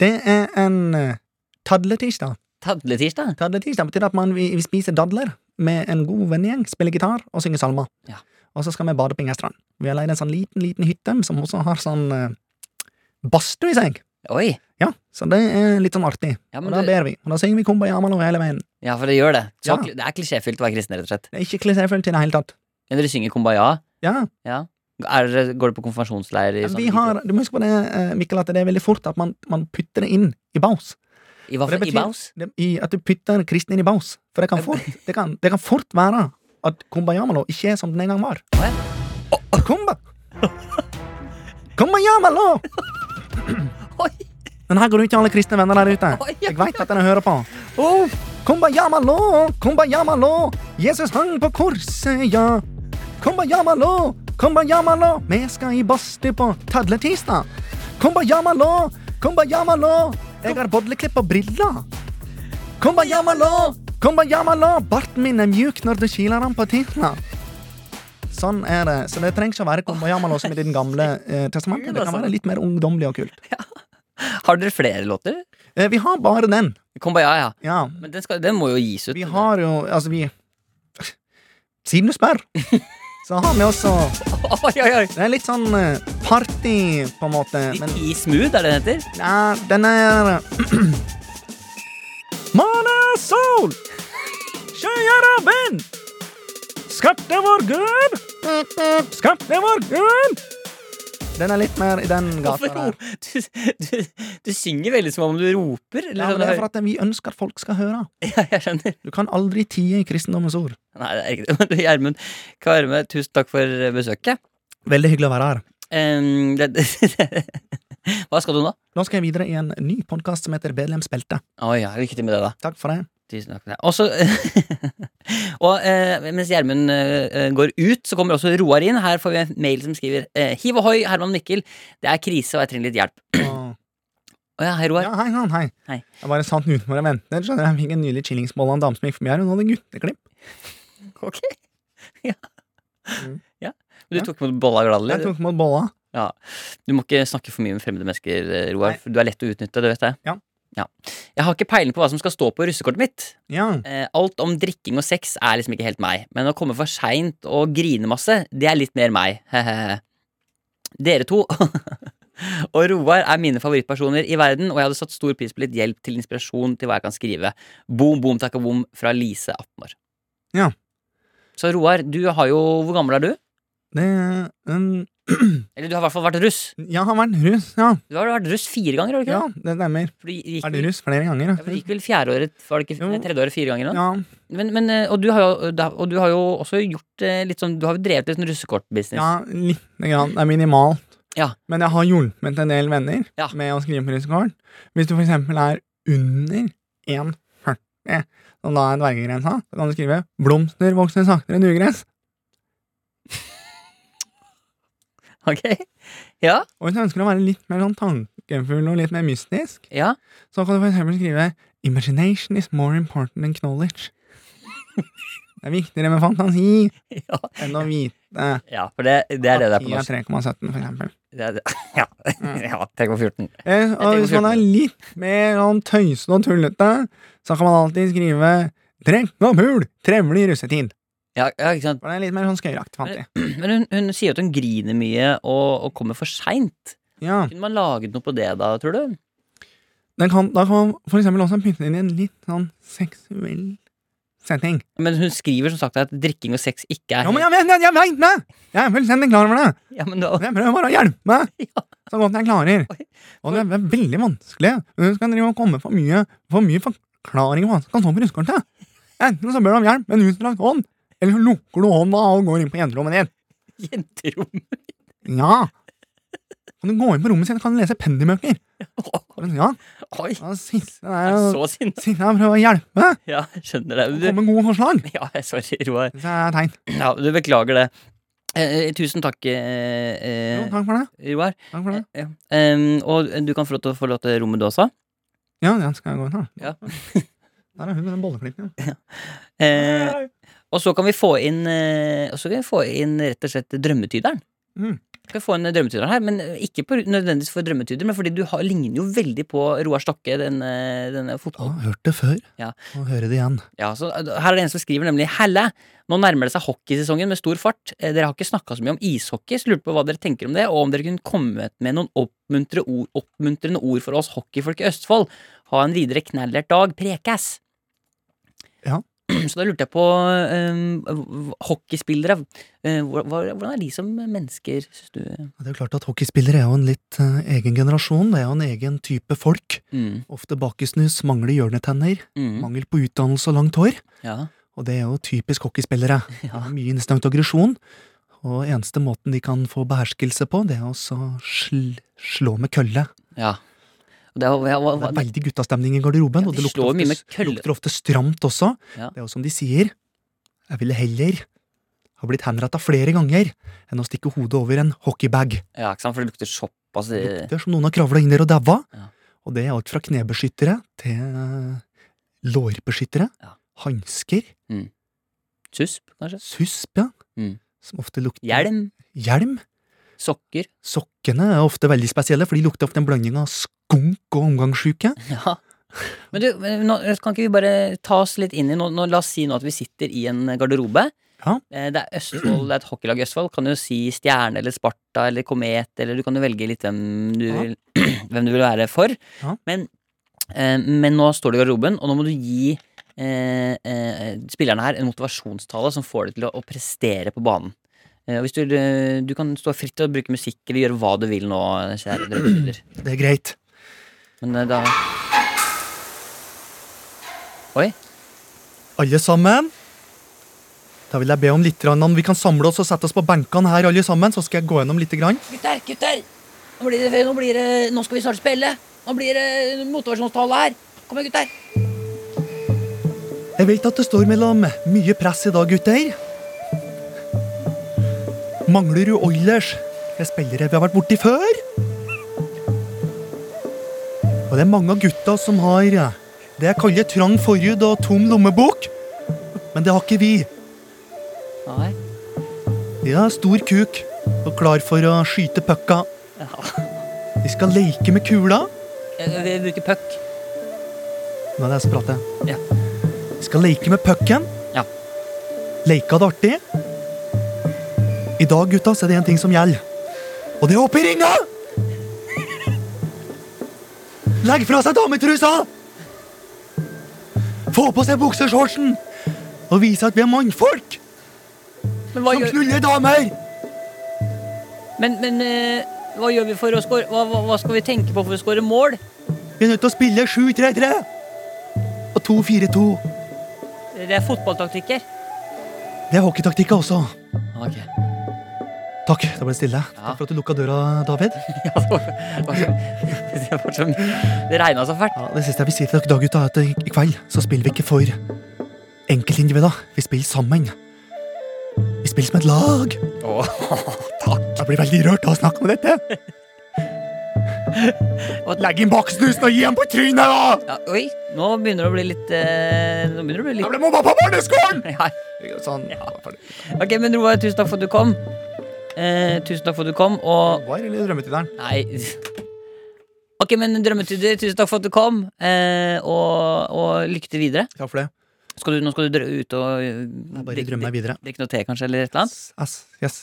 S3: Det er en eh, tadletirsdag.
S2: Tadletirsdag?
S3: Tadletirsdag betyr at man, vi, vi spiser dadler med en god vennegjeng, spiller gitar og synger salmer.
S2: Ja.
S3: Og så skal vi bade på Ingestrand. Vi har leid en sånn liten, liten hytte som også har sånn eh, badstue i seg.
S2: Oi.
S3: Ja, så det er litt sånn artig.
S2: Ja,
S3: Og
S2: men
S3: da
S2: det,
S3: ber vi, og da synger vi Kumbayamalo hele veien.
S2: ja for det gjør det. Så,
S3: Ja.
S2: kli- Det er klisjéfylt å være kristen, rett og slett.
S3: Det er ikke klisjéfullt i det hele tatt.
S2: Men dere synger kumbaya.
S3: Ja,
S2: Ja. Er, dere- går dere på konfirmasjonsleir i,
S3: men
S2: sånn,
S3: vi har, du må huske på det, eh, Mikkel, at det er veldig fort at man, man putter det inn i baus.
S2: i, hva
S3: Og
S2: for,
S3: det
S2: i
S3: betyr-
S2: Baus?
S3: Det, I at du putter kristen inn i baus.
S2: *laughs*
S3: For det kan fort, det kan, det kan fort være at Kumbayamalo ikke er som den en gang var.
S2: Å, ja.
S3: Og
S2: *laughs*
S3: Kumba! Kumbayamalo!
S2: Oi,
S3: Den her går ut til alle kristne venner der ute.
S2: Oi, ja.
S3: Jeg veit at dere hører på.
S2: oh,
S3: Kumbayamalo, kumbayamalo, Jesus hang på korset, ja. Kumbayamalo, kumbayamalo, vi skal i badstue på Tadletisdag. Kumbayamalo, kumbayamalo, jeg har bodleklipp og briller. Kumbayamalo, kumbayamalo, barten min er mjuk når du kiler den på tittene. Sånn er det. Så det trenger ikke å være kumbayamalo som i den gamle eh, testamentet. Det kan være litt mer ungdommelig og kult.
S2: har dere flere låter?
S3: Eh, vi har bare den.
S2: Kumbaya, ja.
S3: Ja,
S2: Men den, skal, den må jo gis ut.
S3: Vi har jo Altså, vi Siden du spør, så har vi også
S2: *laughs* Oi, oi, oi.
S3: Det er litt sånn eh, party, på en måte, men
S2: I Smooth, er det den heter?
S3: ja, den er *clears throat* Måne og sol, skyer og vind. Skapte vår Gud, skapte vår Gud. Den er litt mer i den
S2: Hvorfor
S3: gata
S2: ro- *laughs*
S3: der.
S2: Du, du, du synger veldig som om du roper. Eller
S3: Ja, men
S2: sånn,
S3: det er for at vi ønsker at folk skal høre.
S2: *laughs* ja, jeg skjønner.
S3: Du kan aldri tie i kristendommens ord.
S2: Nei, det er ikke det. *laughs* Men du, Gjermund Kvarme, tusen takk for besøket. *laughs*
S3: Veldig hyggelig å være her.
S2: Em, det, det, Hva skal du nå?
S3: Nå skal jeg videre i en ny podkast som heter Bedlemsbeltet.
S2: Å ja, lykke til med det, da.
S3: Takk for det.
S2: Tusen takk. for det. Og så *laughs* Og eh, mens Gjermund eh, går ut, så kommer også Roar inn. Her får vi en mail som skriver eh, Hiv ohoi, Herman Mikkel. Det er krise, og jeg trenger litt hjelp.
S3: Og-
S2: Å ja, hei, Roar.
S3: Ja, hei, han, hei.
S2: Hei.
S3: Jeg bare satt utenfor og ventet. Skjønner jeg fikk en nylig chillingsmål av en dame som gikk forbi her. Hun hadde gutteklipp.
S2: Ok. ja.
S3: Mm.
S2: ja. Men du tok imot bolla gladelig?
S3: Jeg tok mot bolla.
S2: Du må ikke snakke for mye med fremmede mennesker, eh, Roar.
S3: Nei.
S2: For du er lett å utnytte, det vet jeg.
S3: Ja.
S2: Ja. Jeg har ikke peiling på hva som skal stå på russekortet mitt.
S3: Ja.
S2: Eh, alt om drikking og sex er liksom ikke helt meg. Men å komme for seint og grine masse, det er litt mer meg. *laughs* Hehehe. Dere to *laughs* og Roar er mine favorittpersoner i verden, og jeg hadde satt stor pris på litt hjelp til inspirasjon til hva jeg kan skrive. Boom, boom, takka boom fra Lise, 18 år.
S3: Ja.
S2: Så Roar, du har jo Hvor gammel er du?
S3: Det um,
S2: Eller du har i hvert fall vært russ.
S3: *clears throat* Jeg har vært russ, ja.
S2: Du har vært russ fire ganger, har du ikke
S3: Ja, det stemmer.
S2: For du gikk,
S3: Er du russ flere ganger?
S2: Ja, for du gikk vel fjerdeåret, var det ikke
S3: Jo.
S2: nei, tredjeåret fire ganger? Da?
S3: Ja.
S2: Men, men, eh, og, du har jo, da- og du har jo også gjort eh, litt sånn Du har jo drevet litt sånn russekortbusiness.
S3: Ja, litt. Grann. Det er minimalt.
S2: Ja.
S3: Men jeg har hjulpet en del venner
S2: Ja.
S3: med å skrive på russekort. Hvis du for eksempel er under 1,40, som da er dvergegrensa, så kan du skrive 'Blomster vokser saktere enn ugress'.
S2: *laughs* Ok? Ja?
S3: Og hvis du ønsker å være litt mer sånn tankefull og litt mer mystisk,
S2: Ja?
S3: så kan du for eksempel skrive 'Imagination is more important than
S2: *laughs*
S3: knowledge'. Det er viktigere med fantasi
S2: Ja,
S3: enn å vite
S2: ja for det, det er det det er
S3: at
S2: på
S3: ti er
S2: norsk.
S3: 3,17, for eksempel.
S2: Det er det. *laughs* Ja. ja. Tenk på 14.
S3: Eh, og
S2: tenker
S3: hvis man er
S2: 14.
S3: litt mer sånn tøysete og tullete, så kan man alltid skrive 'Drekk og pul! Trevlig russetid'.
S2: Ja, ja, ikke sant? *clears throat*
S3: For det er litt mer sånn skøyeraktig, fant jeg.
S2: Men hun, hun sier jo at hun griner mye og, og kommer for seint.
S3: Ja.
S2: Kunne man laget noe på det da, tror du?
S3: Den kan, da kan man for eksempel også pynte den i en litt sånn seksuell setting.
S2: Men hun skriver som sagt at drikking og sex ikke er
S3: Ja, men jeg vet det! Jeg vet det! Jeg er fullstendig klar over det!
S2: Ja, men da-
S3: Men jeg prøver bare å hjelpe
S2: Ja.
S3: så godt jeg klarer. Og det er veldig vanskelig. Du skal drive og komme for mye, for mye forklaring på hva som kan stå på russekortet. Enten så bør du om hjelp med en utstrakt hånd, eller så lukker du hånda og går inn på jenterommet ditt.
S2: Jenterom.
S3: Ja. Kan du gå inn på rommet sitt og kan du lese pennybøker? Ja.
S2: *laughs* Oi,
S3: Da sitter
S2: jeg
S3: jeg
S2: er
S3: der og
S2: så sinna.
S3: sitter jeg og prøver å hjelpe.
S2: Ja, jeg skjønner det.
S3: og
S2: Du,
S3: Komme med gode forslag.
S2: Ja, sorry, Roar.
S3: Det er teit.
S2: Ja, du beklager det. Eh, eh, tusen takk, eh,
S3: Jo,
S2: eh,
S3: takk for det.
S2: Roar.
S3: Takk for det.
S2: Eh, em, og du kan få lov til å forlate rommet du også.
S3: Ja, den skal jeg gå inn her.
S2: Eh. Ja.
S3: Der er hun med den bolleklippen. ja.
S2: Eh, og så kan vi få inn eh, Og så kan vi få inn rett og slett drømmetyderen.
S3: Mm.
S2: Skal vi få inn drømmetyderen her, men eh, ikke på, nødvendigvis for drømmetyder, men fordi du har, ligner jo veldig på Roar Stokke, denne, denne
S3: Å,
S2: fotballen.
S3: hørt det før.
S2: Ja.
S3: Må høre det igjen.
S2: Ja, så eh, her er det en som skriver nemlig Helle, nå nærmer det seg hockeysesongen med stor fart. Eh, Dere har ikke snakka så mye om ishockey, så lurte på hva dere tenker om det, og om dere kunne kommet med noen oppmuntre ord, oppmuntrende ord for oss hockeyfolk i Østfold. Ha en videre knallert dag, prekes.
S3: Ja.
S2: *clears throat* Så da lurte jeg på eh, hv- hockeyspillere. Eh, hvor- hva- hvordan er de som mennesker, syns du?
S3: Ja, Det er jo klart at Hockeyspillere er jo en litt eh, egen generasjon. Det er jo en egen type folk.
S2: Mm,
S3: Ofte bakesnus, mangler hjørnetenner,
S2: mm,
S3: mangel på utdannelse og langt hår.
S2: ja.
S3: Og det er jo typisk
S2: *laughs*
S3: hockeyspillere. De har Mye instinkt og aggresjon. Og eneste måten de kan få beherskelse på, det er å så sl slå med kølle.
S2: ja. Og Det, er- hva, hva,
S3: Det er
S2: hva,
S3: veldig guttastemning i garderoben,
S2: Ja,
S3: og
S2: de
S3: det lukter
S2: slår mye med
S3: ofte,
S2: kølle.
S3: lukter ofte stramt også.
S2: Ja.
S3: Det er jo som de sier, jeg ville heller ha blitt henretta flere ganger enn å stikke hodet over en hockeybag.
S2: ja, ikke sant, for det lukter såpass
S3: Det
S2: eh,
S3: lukter som noen har kravla inn der og daua.
S2: Ja.
S3: Og det er alt fra knebeskyttere til eh, lårbeskyttere,
S2: Ja.
S3: hansker,
S2: susp, kanskje.
S3: susp, ja,
S2: Mm.
S3: som ofte lukter
S2: Hjelm,
S3: hjelm.
S2: sokker.
S3: Sokkene er ofte veldig spesielle, for de lukter ofte en blanding av skunk og omgangssyke.
S2: Ja. Men du, men nå, kan ikke vi bare ta oss litt inn i nå, nå, La oss si nå at vi sitter i en garderobe.
S3: Ja.
S2: Eh, Det er Østfold, det er et hockeylag i Østfold. Kan jo si Stjerne eller Sparta eller Komet, eller du kan jo velge litt hvem du,
S3: Ja.
S2: vil, *clears throat* hvem du vil være for.
S3: Ja.
S2: Men, eh, men nå står du i garderoben, og nå må du gi eh, eh, spillerne her en motivasjonstale som får dem til å, å prestere på banen. Eh, og hvis du, eh, du kan stå fritt til å bruke musikk eller gjøre hva du vil nå, kjære drømmetyder.
S3: Det er greit.
S2: Men eh, da Oi.
S3: Alle sammen. Da vil jeg be om litt grann om vi kan samle oss og sette oss på benkene her, alle sammen, så skal jeg gå gjennom litt. Grann.
S2: Gutter, gutter!
S4: Nå blir det, nå blir det Nå skal vi snart spille. Nå blir det motivasjonstale her. Kom igjen, gutter.
S3: Jeg vet at det står mellom mye press i dag, gutter. Mangler du Oilers? Det er spillere vi har vært borti før. Og det er mange av gutta som har eh, det jeg kaller trang forhud og tom lommebok. Men det har ikke vi.
S2: Nei.
S3: Vi har stor kuk og klar for å skyte pucka. Vi skal leke med kula.
S2: Jeg vil bruke puck.
S3: Nå er det jeg som prater.
S2: Ja.
S3: Vi skal leke med pucken.
S2: Ja.
S3: Leke av det artig. I dag, gutta, så er det én ting som gjelder. Og det er oppe i ringa! Legg fra seg dametrusa! Få på seg bukseshortsen! Og vise at vi er mannfolk
S4: Men hva
S3: som
S4: gjør,
S3: knuller damer!
S4: men, men, eh, hva gjør vi for å score? Hva, hva, hva skal vi tenke på for å score mål?
S3: Vi er nødt til å spille 7-3-3 og 2-4-2.
S4: Det er fotballtaktikker.
S3: Det er hockeytaktikk også.
S2: Ok. *laughs*
S3: Takk, det ble stille.
S2: Ja.
S3: Takk for at du lukka døra, David.
S2: Ja, det var- det var *laughs* så- det var så Det regna så fælt.
S3: Ja, det siste jeg vil si til dere da, gutta, er at i i kveld så spiller vi ikke for enkeltindivider. Vi spiller sammen. Vi spiller som et lag.
S2: Åh,
S3: Jeg blir veldig rørt av å snakke om
S2: *laughs*
S3: dette. Legg inn baksnusen og gi ham på trynet, da!
S2: Ja, oi, nå begynner det å bli litt eh, Nå begynner det å bli
S3: Jeg ble mobba på
S2: *laughs*
S3: barneskolen!
S2: litt Nei.
S3: Sånn.
S2: Ok, men Roar, tusen takk for at du kom. Eh, tusen takk for at du kom, og
S3: Var eller drømmetyderen?
S2: Nei. Ok, men Drømmetyder, tusen takk for at du kom, eh, og, og lykke til videre.
S3: Takk for det.
S2: Skal du, nå skal du dra ut og eh,
S3: Jeg bare
S2: drikke-
S3: drømmer meg videre.
S2: Drikke noe te, kanskje, eller et eller annet.
S3: Ass, yes.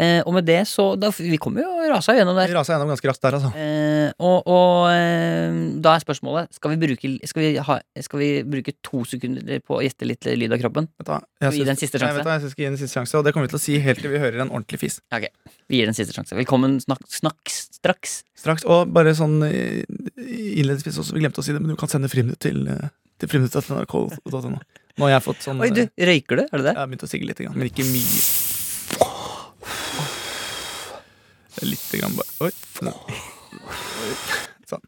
S2: Eh, og med det, så da, Vi kommer jo rasa gjennom
S3: Vi
S2: der.
S3: rasa gjennom ganske raskt der, altså.
S2: Eh, og og eh, da er spørsmålet Skal vi bruke, skal vi ha, skal vi bruke to sekunder på å gjette litt lyd av kroppen?
S3: Vet du hva,
S2: Skal
S3: jeg
S2: vi gi
S3: syns-
S2: det en siste
S3: Nei,
S2: sjanse?
S3: vet du hva, jeg syns vi skal gi den en siste sjanse, og det kommer vi til å si helt til vi hører en ordentlig fis.
S2: Vi gir den siste sjanse. Velkommen snakk, snakk straks.
S3: Straks. Og bare sånn eh, innledningsvis også, vi glemte å si det, men du kan sende friminutt til, eh, til friminutt.nrk.no. Nå har jeg fått sånn
S2: Oi, du,
S3: eh,
S2: røyker du? Er det det?
S3: Jeg har begynt å sigge litt, grann, men ikke mye. Litt grann bare Oi. Sånn.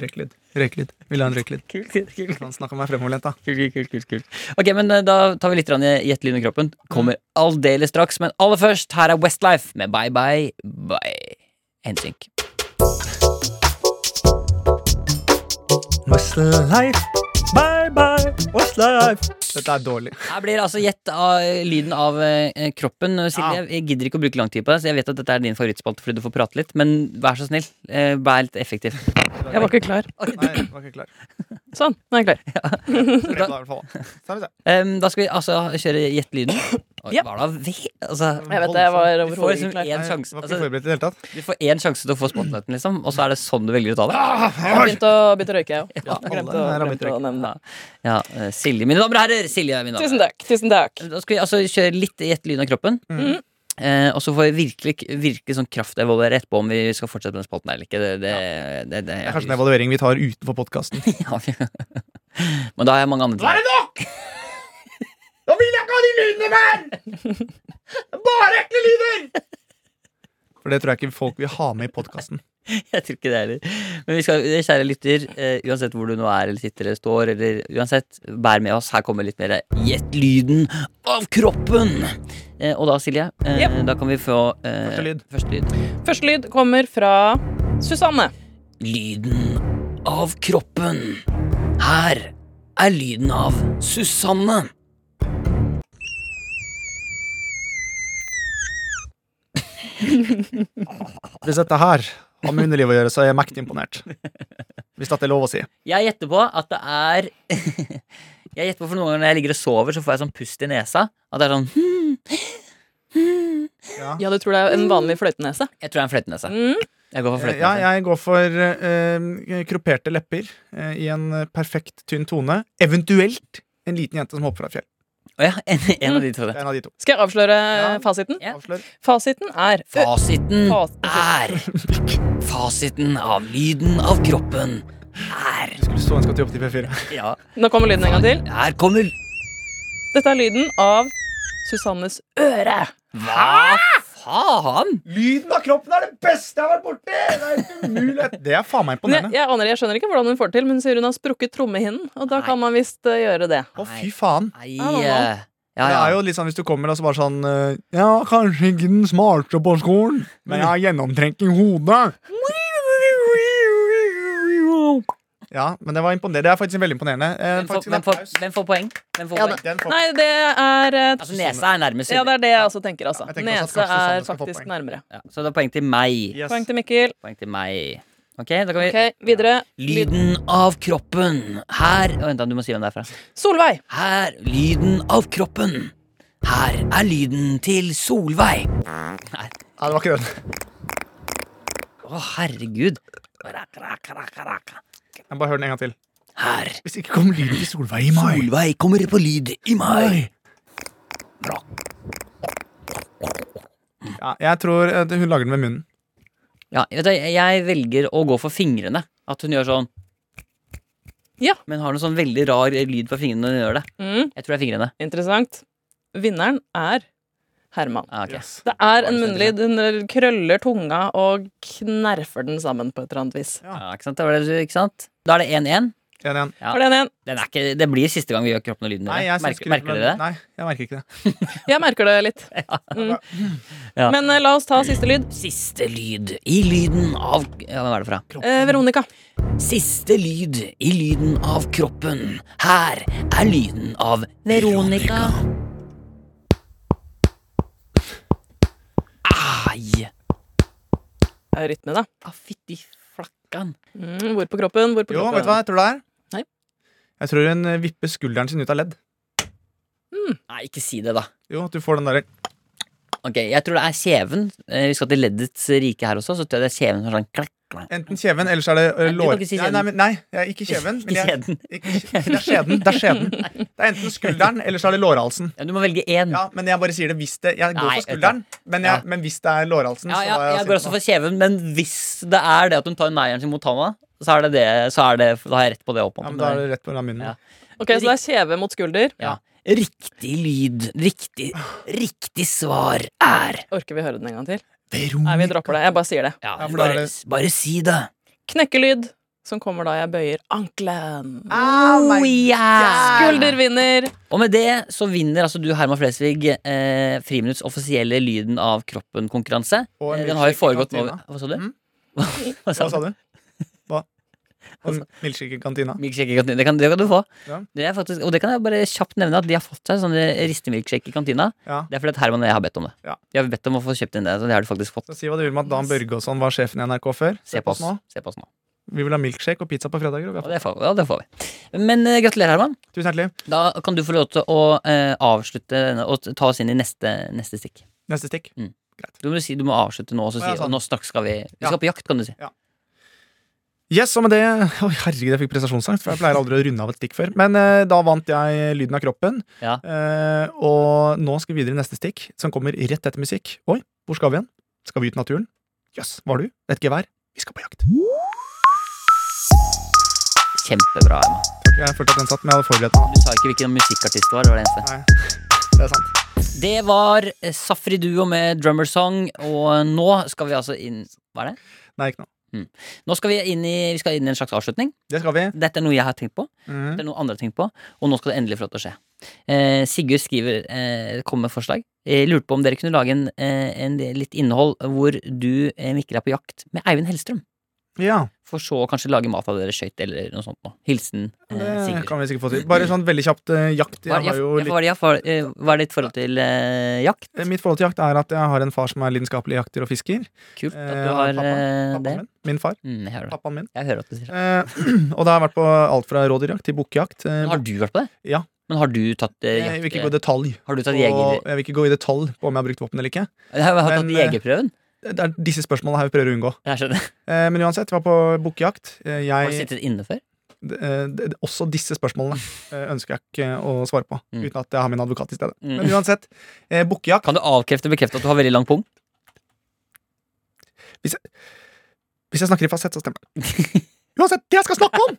S3: Røyklyd. Røyklyd. Vil ha en røyklyd.
S2: Kult, kult, kult.
S3: Han snakka meg fremoverlent, da.
S2: Kult, kult, kult, kult. Ok, men eh, da tar vi litt grann i gjettelyd med kroppen. Kommer
S5: Mm.
S2: aldeles straks, men aller først, her er Westlife med Bye Bye Bye. Hensynk.
S3: Westlife. Bye bye, Westlife. Dette er dårlig.
S2: Her blir altså gjett av eh, lyden av eh, kroppen. Eh, Silje, jeg gidder ikke å bruke lang tid på det, så jeg vet at dette er din favorittspalte fordi du får prate litt, men vær så snill, eh, vær litt effektiv.
S5: Jeg var ikke klar.
S3: Nei, jeg var ikke klar.
S5: Sånn, nå er jeg klar.
S3: Jeg ble klar i hvert fall. Så er vi se.
S2: Em, da skal vi altså kjøre gjettelyden. Oi,
S5: Ja.
S2: Var det ve... Altså,
S5: Jeg vet det, jeg var
S2: du får
S5: overhodet
S2: liksom
S5: ikke klar.
S2: én
S3: Nei,
S2: sjanse,
S3: Var ikke
S2: altså,
S3: forberedt i det hele tatt.
S2: du får én sjanse til å få spotlighten, liksom, og så er det sånn du velger å ta det.
S5: Jeg har begynt å, begynt å røyke, jeg òg. Glemte,
S3: alle
S5: å-
S3: her har begynt
S5: glemte
S3: å
S5: å nevne det.
S2: Ja, eh, Silje, mine damer og herrer. Silje, mine damer.
S5: Tusen takk. Tusen takk.
S2: Da skal vi altså kjøre litt gjett lyden av kroppen.
S3: Mhm.
S2: Eh, og så får vi virkelig, virkelig sånn kraftevaluere etterpå om vi skal fortsette med den spalten her eller ikke. Det, det, det, det,
S3: Det er kanskje en evaluering vi tar utenfor podkasten.
S2: *laughs* Ja, vi- Men da har jeg mange andre
S6: Nå er det nok! Nå vil jeg ikke ha de lydene mer! Bare ekle lyder!
S3: For det tror jeg ikke folk vil ha med i podkasten.
S2: Jeg tror ikke det heller. Men vi skal, kjære lytter, eh, uansett hvor du nå er eller sitter eller står, eller uansett, bær med oss. Her kommer litt mer Gjett lyden av kroppen! Eh, og da, Silje, eh,
S5: Yep.
S2: da kan vi få eh,
S3: Første lyd.
S2: Første lyd.
S5: Første lyd kommer fra Susanne.
S2: Lyden av kroppen. Her er lyden av Susanne.
S3: Hvis dette her har med underlivet å gjøre, så er jeg mektig imponert. Hvis dette er lov å si.
S2: Jeg gjetter på at det er *laughs* Jeg gjetter på for noen ganger når jeg ligger og sover, så får jeg sånn pust i nesa. At det er sånn hmm,
S3: Ja,
S5: Ja, du tror det er en vanlig fløytenese?
S2: Jeg tror det er en fløytenese.
S5: Mm.
S2: Jeg går for
S3: Eh,
S2: fløytenese.
S3: ja jeg går for eh, kroperte lepper eh, i en eh, perfekt tynn tone. Eventuelt en liten jente som hopper fra et fjell.
S2: Å ja, en, en av de
S3: Det
S2: trodde.
S3: er en av de to.
S5: Skal jeg avsløre
S3: Ja.
S5: fasiten?
S2: Ja.
S3: Avslør.
S5: Fasiten er
S3: *laughs*
S2: Fasiten
S5: Fas-
S2: er Fasiten av lyden av kroppen er
S3: Du skulle så ønske at du jobbet i P4.
S2: Ja,
S5: Nå kommer lyden en gang til.
S2: her kommer
S5: Dette er lyden av Susannes øre.
S2: Hva faen?
S6: Lyden av kroppen er det beste jeg har vært borti! Det er helt umulig.
S3: Det er faen meg
S5: Men jeg,
S3: imponerende.
S5: jeg aner Jeg skjønner ikke hvordan hun får det til, men hun sier hun har sprukket trommehinnen. Og da kan man visst eh, gjøre det.
S3: Å, fy faen.
S2: Nei
S5: Ja, nå.
S2: eh,
S3: Det
S2: Ja,
S3: er
S2: ja.
S3: jo litt sånn hvis du kommer og så bare sånn eh, Ja, kanskje ikke den smarte på skolen, men jeg har gjennomtrengt i hodet. Ja, men det var imponerende. Det er faktisk veldig imponerende. Eh,
S2: Hvem får,
S3: faktisk, en
S2: hvem, får,
S3: applaus.
S2: hvem får poeng? Hvem får
S5: Ja,
S2: poeng?
S3: Den får-
S5: Nei, det er eh,
S2: Altså, nesa er nærmest.
S5: Ja, det er det jeg også tenker, altså.
S3: jeg tenker også at kanskje
S5: Nese
S3: Susanne
S5: er
S3: skal få
S5: faktisk
S3: poeng.
S5: nærmere.
S2: Ja, så det er poeng til meg.
S3: Yes.
S5: Poeng til Mikkel.
S2: Poeng til meg. Ok, da kan vi
S5: Ok, videre.
S2: Lyden av kroppen her Å, Vent, da, du må si hvem det er fra.
S5: Solveig.
S2: Her lyden av kroppen. Her er lyden til Solveig. Nei,
S3: Nei, det var ikke den.
S2: å herregud.
S3: Jeg bare hør den en gang til.
S2: Her.
S3: Hvis ikke kom lyden til Solveig i mai.
S2: Solveig kommer på lyd i mai. Bra.
S3: Ja, jeg tror eh, hun lager den med munnen.
S2: Ja, vet du, jeg velger å gå for fingrene. At hun gjør sånn.
S5: Ja.
S2: Men har noe sånn veldig rar lyd på fingrene når hun gjør det.
S5: Mm,
S2: Jeg tror det er fingrene.
S5: interessant. Vinneren er Herman.
S2: Ah, ok.
S3: Yes.
S5: Det er en munnlyd. Hun krøller tunga og knerfer den sammen på et eller annet vis.
S2: Ja, Ah, ikke sant? Det var det, du- ikke sant? Da er det 1-1.
S3: En, en.
S2: Ja.
S5: Var det en igjen?
S2: Den er ikke- Det blir siste gang vi gjør kroppen og lyden.
S3: Nei,
S2: dere.
S3: jeg synes
S2: merker,
S3: ikke
S2: merker dere det?
S3: Nei, jeg merker ikke det.
S5: Jeg merker det *laughs* litt. Mm.
S2: Ja.
S5: Men eh, la oss ta siste lyd.
S2: Siste lyd i lyden av ja, Hva er det fra?
S5: Eh, Veronica.
S2: Siste lyd i lyden av kroppen. Her er lyden av Veronica. Ai!
S5: Det er jo rytme, da.
S2: Ah, Fytti flakkan.
S5: Mm, hvor på kroppen? Hvor på
S3: Jo,
S5: kroppen?
S3: vet du hva jeg tror det er?
S5: Nei.
S3: Jeg tror hun eh, vipper skulderen sin ut av ledd.
S2: Nei, ikke si det, da.
S3: Jo, at du får den der
S2: Ok, Jeg tror det er kjeven. Eh, Vi skal til leddets rike her også. Så tror jeg det er kjeven som er sånn klakk, klakk.
S3: Enten kjeven, eller så er det eh,
S2: Nei, du kan
S3: lår...
S2: ikke si
S3: Nei,
S2: kjeden.
S3: nei, men- nei, jeg er ikke
S2: *laughs*
S3: kjeven. Men
S2: Ikke
S3: jeg,
S2: kjeden.
S3: ikke, det er skjeden. Det er
S2: *laughs*
S3: skjeden. Det er enten skulderen, eller så er det lårhalsen.
S2: Ja, du må velge én.
S3: Ja, men jeg bare sier det hvis det Jeg går
S2: Mm. Nei,
S3: for skulderen, men, jeg,
S2: Ja.
S3: men hvis det er lårhalsen,
S2: Ja, ja,
S3: så er
S2: jeg går også for kjeven, men hvis det er det at hun tar neieren sin mot tanna, så er det det, så er det, da har jeg rett på det. Opp,
S3: Ja, men da er det rett på den munnen.
S2: Ja.
S5: Ok, Så det er kjeve mot skulder.
S2: Ja. Riktig lyd, riktig, riktig svar er
S5: Orker vi høre den en gang til?
S3: Veronica.
S5: Nei, vi dropper det. Jeg bare sier det.
S2: Ja,
S3: Ja, for da er
S2: bare,
S3: det-
S2: bare si det.
S5: Knekkelyd som kommer da jeg bøyer ankelen.
S3: Ah.
S2: Oh, yeah.
S5: Skulder vinner.
S2: Og med det så vinner altså du, Herman Flesvig, eh, Friminutts offisielle Lyden av kroppen-konkurranse.
S3: Og en
S2: Eh, Den har jo
S3: milkshake i
S2: foregått nå
S3: kantina.
S2: Hva sa du?
S3: Mm?
S2: *laughs* Hva
S3: Hva sa
S2: du?
S3: du? Hva? Om milkshake i kantina?
S2: Milkshake i kantina. Det kan, det kan du få.
S3: Ja.
S2: Det er faktisk, og det kan jeg bare kjapt nevne at de har fått seg sånne ristemilkshake i kantina.
S3: Ja.
S2: Det er fordi at Herman og jeg har bedt om det.
S3: Ja.
S2: Vi har bedt om å få kjøpt inn det, så det har du faktisk fått.
S3: Så si hva du vil med at Dan Børgeåsson var sjefen i NRK før.
S2: Se på oss,
S3: nå.
S2: Se på oss nå.
S3: Vi vil ha milkshake og pizza på fredager. og vi har
S2: Og det får, ja, det får vi. Men eh, gratulerer, Herman.
S3: fått- Tusen hjertelig.
S2: Da kan du få lov til å eh, avslutte denne og t- ta oss inn i neste, neste stikk.
S3: Neste stikk.
S2: Du må, si, du må avslutte nå og så
S3: Å,
S2: si
S3: ja,
S2: og
S3: sånn.
S2: nå straks skal vi Vi
S3: Ja.
S2: skal på jakt, kan du si.
S3: Yes, og med det Oi, herregud, jeg fikk prestasjonsangst, for jeg pleier aldri å runde av et stikk før. Men eh, da vant jeg lyden av kroppen.
S2: Ja.
S3: Eh, og nå skal vi videre i neste stikk, som kommer rett etter musikk. Oi, hvor skal vi hen? Skal vi ut i naturen? Jøss, yes, var du? Et gevær? Vi skal på jakt.
S2: Kjempebra, Emma.
S3: Jeg følte at den satt, men jeg hadde forberedt meg.
S2: Du sa ikke hvilken musikkartist det var. Det var det eneste.
S3: Nei, det er sant.
S2: Det var eh, Safri Duo med Drummer Song, og nå skal vi altså inn Hva er det?
S3: Nei, ikke noe.
S2: Nå skal vi inn i, vi skal inn i en slags avslutning.
S3: Det skal vi.
S2: Dette er noe jeg har tenkt på.
S3: Mhm.
S2: Det er noe andre har tenkt på, og nå skal det endelig få lov til å skje. Eh, Sigurd skriver, eh, kommer med forslag. Jeg lurte på om dere kunne lage en, eh, en del- litt innhold hvor du, eh, Mikkel, er på jakt med Eivind Hellstrøm.
S3: Ja,
S2: For så å kanskje lage mat av dere skøyt eller noe sånt. Nå. Hilsen eh,
S3: det
S2: Sigurd.
S3: kan vi sikkert få til. Bare sånn veldig kjapt eh, jakt.
S2: Hva,
S3: Jeg
S2: ja,
S3: har jo
S2: ja,
S3: litt
S2: hva, er det- ja, hva, eh, hva er ditt forhold til eh, jakt?
S3: Eh, Mitt forhold til jakt er at jeg har en far som er lidenskapelig jakter og fisker.
S2: Kult at
S3: Eh,
S2: du har
S3: pappa-
S2: eh,
S3: Pappaen
S2: det.
S3: min. Min far.
S2: Mm, jeg, hører det.
S3: Pappaen min.
S2: jeg hører at du sier det.
S3: Eh, *clears throat* og da har jeg vært på alt fra rådyrjakt til bukkejakt. Eh,
S2: Men har du vært på det?
S3: Ja.
S2: Men har du tatt eh,
S3: jeg vil
S2: jakt...
S3: ikke gå i detalj.
S2: har du
S3: på-
S2: tatt jeger...
S3: Jeg vil ikke gå i detalj på om jeg har brukt våpen eller ikke.
S2: *laughs* Har du tatt
S3: Men, eh,
S2: jegerprøven?
S3: Det er disse spørsmålene her vi prøver å unngå.
S2: Jeg skjønner.
S3: Eh, men uansett, jeg var på bukkejakt. Eh,
S2: Har du
S3: jeg-
S2: sittet inne før?
S3: d- eh, d- Også disse spørsmålene eh, ønsker jeg ikke å svare på,
S2: Mm.
S3: uten at jeg har min advokat i stedet.
S2: Mm.
S3: Men uansett, eh, bukkejakt
S2: Kan du avkrefte og bekrefte at du har veldig lang pung?
S3: Hvis jeg snakker i fasett, så stemmer
S2: *laughs*
S3: det. Uansett, det jeg skal snakke om,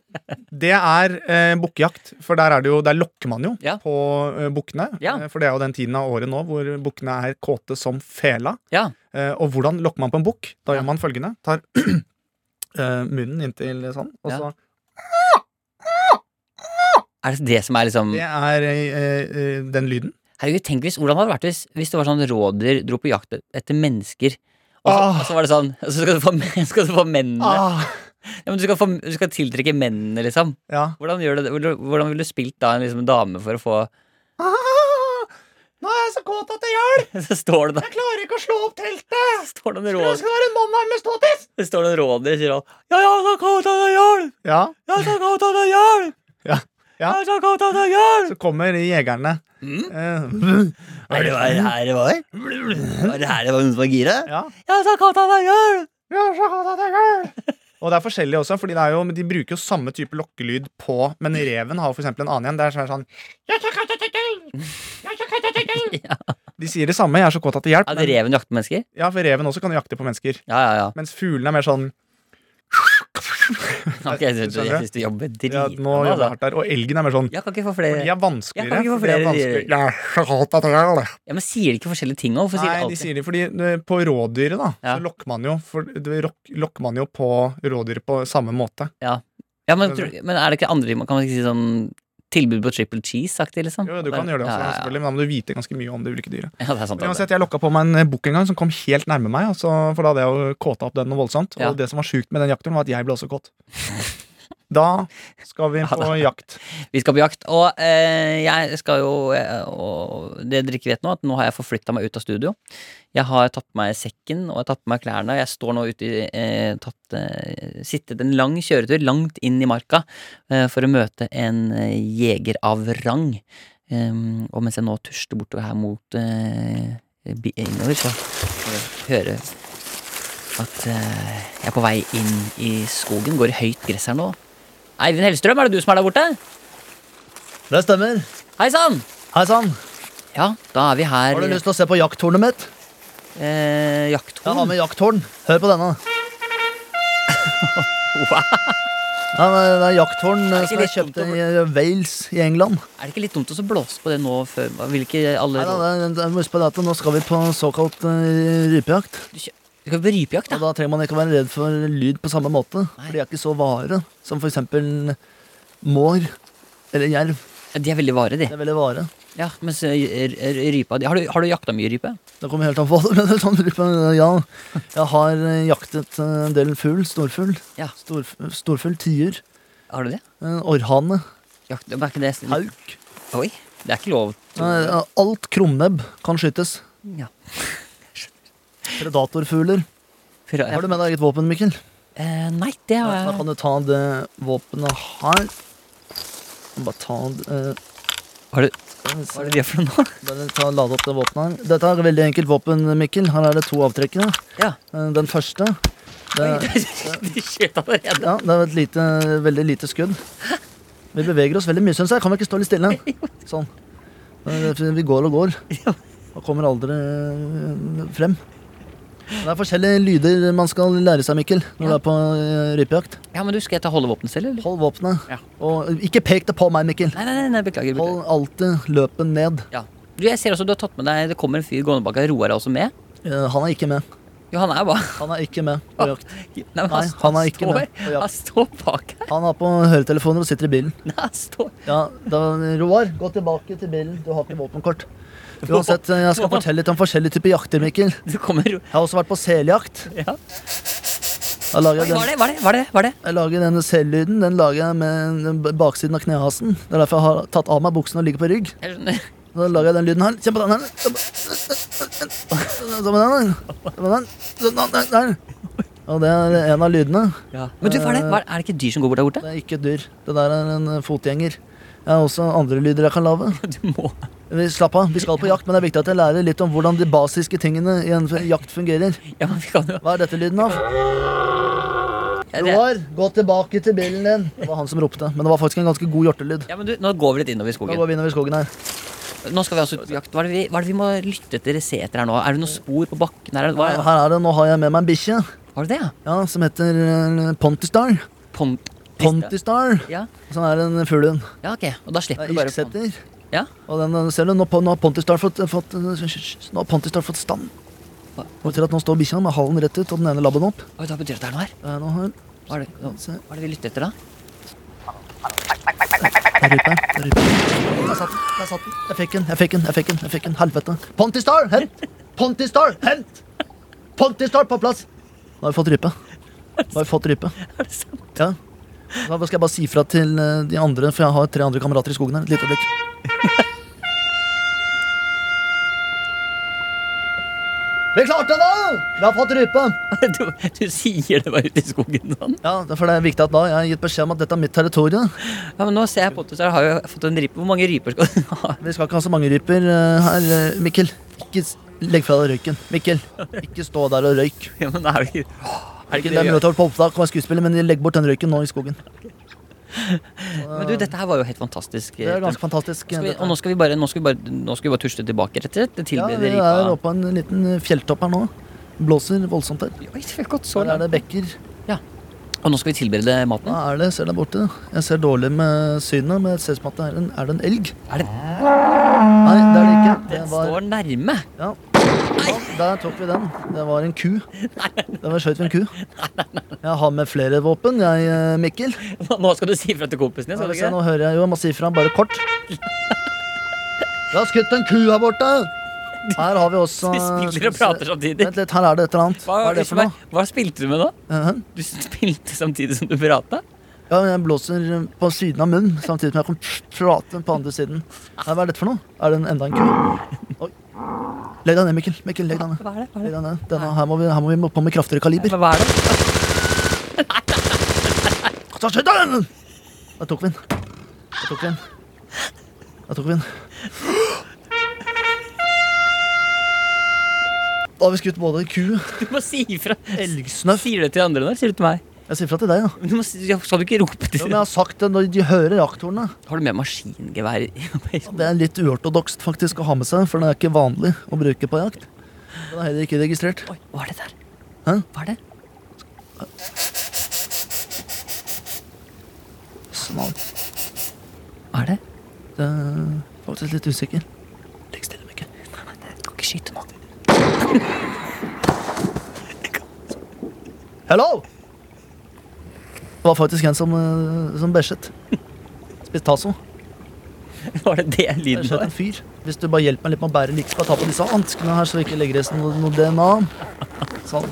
S3: det er eh, bukkejakt. For der, er det jo, der lokker man jo
S2: Ja.
S3: på eh, bukkene.
S2: Ja.
S3: Eh, For det er jo den tiden av året nå hvor bukkene er kåte som fela.
S2: Ja.
S3: Eh, og hvordan lokker man på en bukk? Da gjør man følgende. Tar *clears throat* eh, munnen inntil sånn, og
S2: Ja.
S3: så
S2: Er det det som er liksom
S3: Det er eh, eh, den lyden.
S2: Herregud, tenk hvis, Hvordan hadde det vært hvis, hvis det var sånn rådyr dro på jakt etter mennesker? Og så,
S3: Ah.
S2: og så var det sånn og Så skal du få, men- *laughs* skal du få mennene. Ja, men du, skal få, du skal tiltrekke mennene, liksom.
S3: Ja.
S2: Hvordan, gjør du det? Hvordan- hvordan ville du spilt da en liksom, dame for å få *laughs*
S6: Ah, nå er jeg så kåt at jeg gjør det.
S2: Så står det der
S6: Jeg klarer ikke å slå opp teltet.
S2: står det en
S6: Det
S2: rådyr
S6: skal være en mann her med ståtiss.
S2: Det står det en rådyr og sier sånn Ja, jeg er så kåt at jeg gjør det!
S3: ja.
S2: Jeg er så kåt at jeg gjør det!
S3: Ja. Ja.
S2: Jeg er så kåt at jeg gjør det!
S3: Så kommer jegerne.
S2: Mm.
S3: Eh,
S2: Er det hva det her det var? Var det her det var noen som var gira?
S3: ja.
S2: Jeg er så kåt at jeg gjør det!
S6: Jeg er så kåt at jeg gjør det.
S3: Og det er forskjellig også, fordi det er jo, men de bruker jo samme type lokkelyd på Men reven har jo for eksempel en annen en. Det er sånn- sånn
S6: Jeg er så kåt at jeg gjør det. Jeg er så kåt at jeg gjør
S2: *laughs*
S6: det.
S3: De sier det samme. Jeg er så kåt at det
S2: At
S3: hjelper. Men,
S2: reven jakter mennesker?
S3: ja, for reven også kan jo jakte på mennesker.
S2: Ja, ja, ja.
S3: Mens fuglene er mer sånn
S2: Ok, jeg syns du,
S3: Skjønner du?
S2: jeg synes du jobber
S3: ja,
S2: dritbra.
S3: Nå jobber jeg
S2: altså.
S3: hardt der. Og elgen er mer sånn
S2: Jeg kan ikke få
S3: For
S2: flere
S3: de er
S2: Jeg kan
S3: vanskeligere.
S2: ikke få
S3: For de er
S2: flere
S3: vanskelig.
S2: dyr.
S3: Jeg er så kåt at jeg gjør det.
S2: Ja, men Sier de ikke forskjellige ting òg? For
S3: Nei, de sier det fordi eh, på rådyret, da,
S2: Ja.
S3: så lokker man jo for, det lok- lokker man jo på rådyret på samme måte.
S2: ja, men, tror, men er det ikke andre ting man- Kan man ikke si sånn tilbud på triple cheese-aktig, liksom?
S3: Jo, du kan gjøre det også,
S2: Ja, ja, ja.
S3: selvfølgelig, men da må du vite ganske mye om det ulike dyret.
S2: Ja, det er sant. altså.
S3: Men
S2: det.
S3: uansett, Jeg lokka på meg en eh, bukk en gang som kom helt nærme meg, altså, for da hadde jeg jo kåta opp den noe voldsomt.
S2: Ja.
S3: Og det som var sjukt med den jakten, var at jeg ble også kåt. Da
S2: *laughs*
S3: skal vi på jakt.
S2: Vi skal på jakt, og eh, jeg skal jo eh, og Det dere ikke vet nå, at nå har jeg forflytta meg ut av studio. Jeg har tatt på meg sekken og jeg har tatt på meg klærne. Jeg står nå ute i eh, tatt, eh, Sittet en lang kjøretur langt inn i marka eh, for å møte en eh, jeger av rang. Em, og mens jeg nå tusler bortover her mot eh, bi- innover, så hører at eh, jeg er på vei inn i skogen. Går i høyt gress her nå. Eivind Hellstrøm, er det du som er der borte?
S7: Det stemmer.
S2: Hei sann!
S7: Hei sann.
S2: Ja, da er vi her.
S7: Har du lyst til å se på jakthornet mitt?
S2: Eh,
S7: Jeg har
S2: jakthorn.
S7: med jakthorn. Hør på denne.
S2: Wow.
S7: Ja, det er- det er jakthorn eh,
S2: ikke
S7: som
S2: litt
S7: jeg
S2: dumt
S7: kjøpte i eh, Wales i England.
S2: Er det ikke litt dumt å så blåse på det nå før Vil ikke alle
S7: Nei, nei, nei, nei, jeg må huske på det at Nå skal vi på såkalt eh, rypejakt.
S2: Du kjø- Du skal på rypejakt,
S7: Og
S2: da?
S7: Da trenger man ikke å være redd for lyd på samme måte.
S2: Nei.
S7: For de er ikke så vare som f.eks. mår eller jerv.
S2: Ja, de er veldig vare, de.
S7: Det er veldig vare.
S2: Ja, mens eh, r- r- rypa de- Har du, har du jakta mye rype?
S7: Det kommer helt an på hva du mener. Sånn, rype. ja, jeg har eh, jaktet eh, en del fugl. Storfugl.
S2: Ja.
S7: Storf storfugl. Tiur.
S2: Har du det?
S7: eh, Orrhane.
S2: Jakt, men er ikke det snill?
S7: Hauk.
S2: Oi, det er ikke lov.
S7: Nei, ja, Alt krumnebb kan skytes.
S2: Ja.
S7: Predatorfugler.
S2: Før,
S7: Har du med deg eget våpen, Mikkel?
S2: eh, nei, det har
S7: Da
S2: jeg
S7: kan du ta det våpenet her. Bare ta det
S2: Har du Hva
S7: eh,
S2: er det de gjør for noe nå?
S7: Bare ta og lade opp det våpenet her. Dette er et veldig enkelt våpen, Mikkel. Her er det to avtrekkene.
S2: Ja.
S7: Eh, Den første det,
S2: *laughs* De skjøt allerede.
S7: ja, det er et lite, veldig lite skudd. Vi beveger oss veldig mye, syns jeg. Kan vi ikke stå litt stille? Sånn. Eh, Vi går og går. Og kommer aldri eh, frem. Det er forskjellige lyder man skal lære seg, Mikkel, når du er på eh, rypejakt.
S2: Ja, men du, skal jeg ta holdevåpenet selv, eller?
S7: Hold våpenet.
S2: Ja.
S7: Og ikke pek det på meg, Mikkel.
S2: Nei, nei, nei, nei beklager. beklager.
S7: Hold alltid løpen ned.
S2: Ja. Du, jeg ser også du har tatt med deg Det kommer en fyr gående bak her. Roar er også med.
S7: Eh, Han er ikke med.
S2: Jo, han er bare
S7: Han er ikke med på jakt.
S2: *laughs* Nei, men
S7: Nei,
S2: han,
S7: han er ikke
S2: står,
S7: med på jakt.
S2: Han står bak her.
S7: Han har på høretelefoner og sitter i bilen.
S2: Nei, han står
S7: Ja, da, Roar, gå tilbake til bilen. Du har ikke våpenkort. Uansett, eh,
S2: *laughs*
S7: jeg skal fortelle litt om forskjellige typer jakter, Mikkel. Jeg
S2: Du kommer
S7: har også vært på seljakt.
S2: ja.
S7: Jeg lager
S2: Oi,
S7: den,
S2: Var det, var det, var det, var det?
S7: jeg lager denne sellyden den lager jeg med den b- baksiden av knehasen. Det er derfor jeg har tatt av meg buksene og ligger på rygg.
S2: Jeg skjønner.
S7: Da lager jeg den lyden her. Kjenn på den her. Sånn med den her. Sånn med den. Sånn, der, Der. Og det er en av lydene.
S2: Ja. Men du, hva er
S7: eh,
S2: det? Hva er, er det ikke dyr som går bort der borte?
S7: Det er ikke et dyr. Det der er en eh, fotgjenger. Jeg har også andre lyder jeg kan lage.
S2: Du må
S7: Vi- Slapp av, vi skal på jakt, men det er viktig at jeg lærer litt om hvordan de basiske tingene i en f- jakt fungerer.
S2: Ja, men vi kan jo
S7: Hva er dette lyden av?
S2: ja, det,
S7: Roar, gå tilbake til bilen din. Det var han som ropte, men det var faktisk en ganske god hjortelyd.
S2: ja, men du, Nå går vi litt innover i
S7: Da
S2: skogen.
S7: går vi innover skogen her.
S2: Nå skal vi altså ut på jakt. Hva er, det vi, hva er det vi må lytte etter, se etter her nå? Er det noen spor på bakken her? Hva,
S7: Her er det, nå har jeg med meg en bikkje,
S2: var det det, ja?
S7: ja, som heter eh, Pontistar.
S2: Pont...
S7: Pontistar,
S2: Ja.
S7: som er en fuglehund.
S2: ja, ok. Og da
S7: Det
S2: slipper
S7: er
S2: du bare pont.
S7: Irksetter.
S2: Ja.
S7: Og den, eh, ser du, nå, på- nå har Pontistar fått, fått, nå har Pontistar fått stand. Og til at nå står bikkja med halen rett ut og den ene labben opp.
S2: Oi, da betyr det at det er noe her.
S7: Det er noe her.
S2: Hva er det, hva
S7: Se,
S2: hva er det vi lytter
S7: *laughs*
S2: etter, da?
S7: der ute. Der ute. Der satt den. Der satt den. Jeg fikk den, jeg fikk den, jeg fikk den. jeg fikk den. Helvete. Ponty Star, hent! Ponty Star, hent! Ponty Star på plass! Nå har vi fått rype. Nå har vi fått rype. Ja. Da skal jeg bare si fra til eh, de andre, for jeg har tre andre kamerater i skogen her. Et lite øyeblikk. Vi klarte det! Vi har fått rype.
S2: Du, du sier det var ute i skogen sånn.
S7: Ja, derfor er det viktig at da jeg har gitt beskjed om at dette er mitt territorium.
S2: Ja, men nå ser jeg på det, så jeg har jo fått en ripe. Hvor mange ryper skal du ha?
S7: Vi skal ikke ha så mange ryper eh, her, eh, Mikkel. Ikke s- legg fra deg røyken. Mikkel, ikke stå der og røyk.
S2: Ja, men da er det ikke er det
S7: Det
S2: ikke
S7: er
S2: det vi
S7: mye å
S2: gjør?
S7: ta på opptak og være skuespiller, men legg bort den røyken nå i skogen.
S2: Men du, dette her var jo helt fantastisk.
S7: Det er ganske fantastisk.
S2: skal vi,
S7: dette.
S2: og nå skal vi bare, nå skal vi bare, nå skal vi bare tusle tilbake, rett og slett. Til
S7: Ja,
S2: det
S7: vi
S2: ripa.
S7: er oppe på en liten eh, fjelltopp her nå. Blåser voldsomt her.
S2: Oi, det har gått så
S7: Her er
S2: langt.
S7: det bekker.
S2: Og nå skal vi tilberede maten.
S7: Hva er det jeg ser der borte? Jeg ser dårlig med synet, men jeg ser ut som at det er en, er det en elg.
S2: Er det-
S7: Nei, det er det ikke. Det
S2: Den
S7: var,
S2: står nærme. *laughs*
S7: ja. ja, der tok vi den. Det var en ku. Det var skjøt ved en ku. Jeg har med flere våpen, jeg, eh, Mikkel.
S2: Nå skal du si ifra til kompisen din.
S7: Ja,
S2: Skal du
S7: se,
S2: ikke?
S7: nå hører jeg jo, jeg må si ifra, bare kort. Jeg har skutt en ku her borte. Her har vi også
S2: Du
S7: skal vi
S2: spiller og
S7: se.
S2: prater samtidig.
S7: Vent litt, her er det et eller annet.
S2: Hva,
S7: Hva er det for noe?
S2: hva spilte du med nå?
S7: Eh,
S2: Du spilte samtidig som du prata?
S7: Ja, jeg blåser eh, på siden av munnen, samtidig som jeg kan prate på andre siden. Nei, hva er dette for noe? Er det en, enda en ku? Oi. Legg deg ned, Mikkel. Mikkel, legg deg ned.
S4: Hva er det? Hva
S7: Legg deg ned. Denne, her, må vi, her må vi på med kraftigere kaliber.
S4: Hva er det?
S7: Ta skyt den! Der tok vi den. Der tok vi den. Der tok vi den. Da har vi skutt både ku,
S2: Du må si ifra.
S7: elgsnøff
S2: Sier du det til de andre nå? Sier du til meg?
S7: Jeg sier fra til deg, da.
S2: Men Du må, si- ja, skal du ikke rope
S7: Jo,
S2: til
S7: men jeg har sagt det når de hører jakthornene.
S2: Har du med maskingevær? i- *laughs*
S7: Det er litt uortodokst faktisk å ha med seg, for det er ikke vanlig å bruke på jakt. Den er heller ikke registrert.
S2: Oi, hva er det der?
S7: Hæ?
S2: Hva er det?
S7: Snart.
S2: Hva er det?
S7: Det er faktisk litt usikker. Legg stille, Mikkel.
S2: Du kan ikke skyte nå.
S7: Hello! Det var faktisk en som, eh, som bæsjet. Spist taso.
S2: Var det det
S7: Det
S2: lyden
S7: skjedde
S2: var?
S7: en fyr. Hvis du bare hjelper meg litt med å bære like, skal jeg ta på disse hanskene her, så vi ikke legger resten noe, noe DNA. Sånn.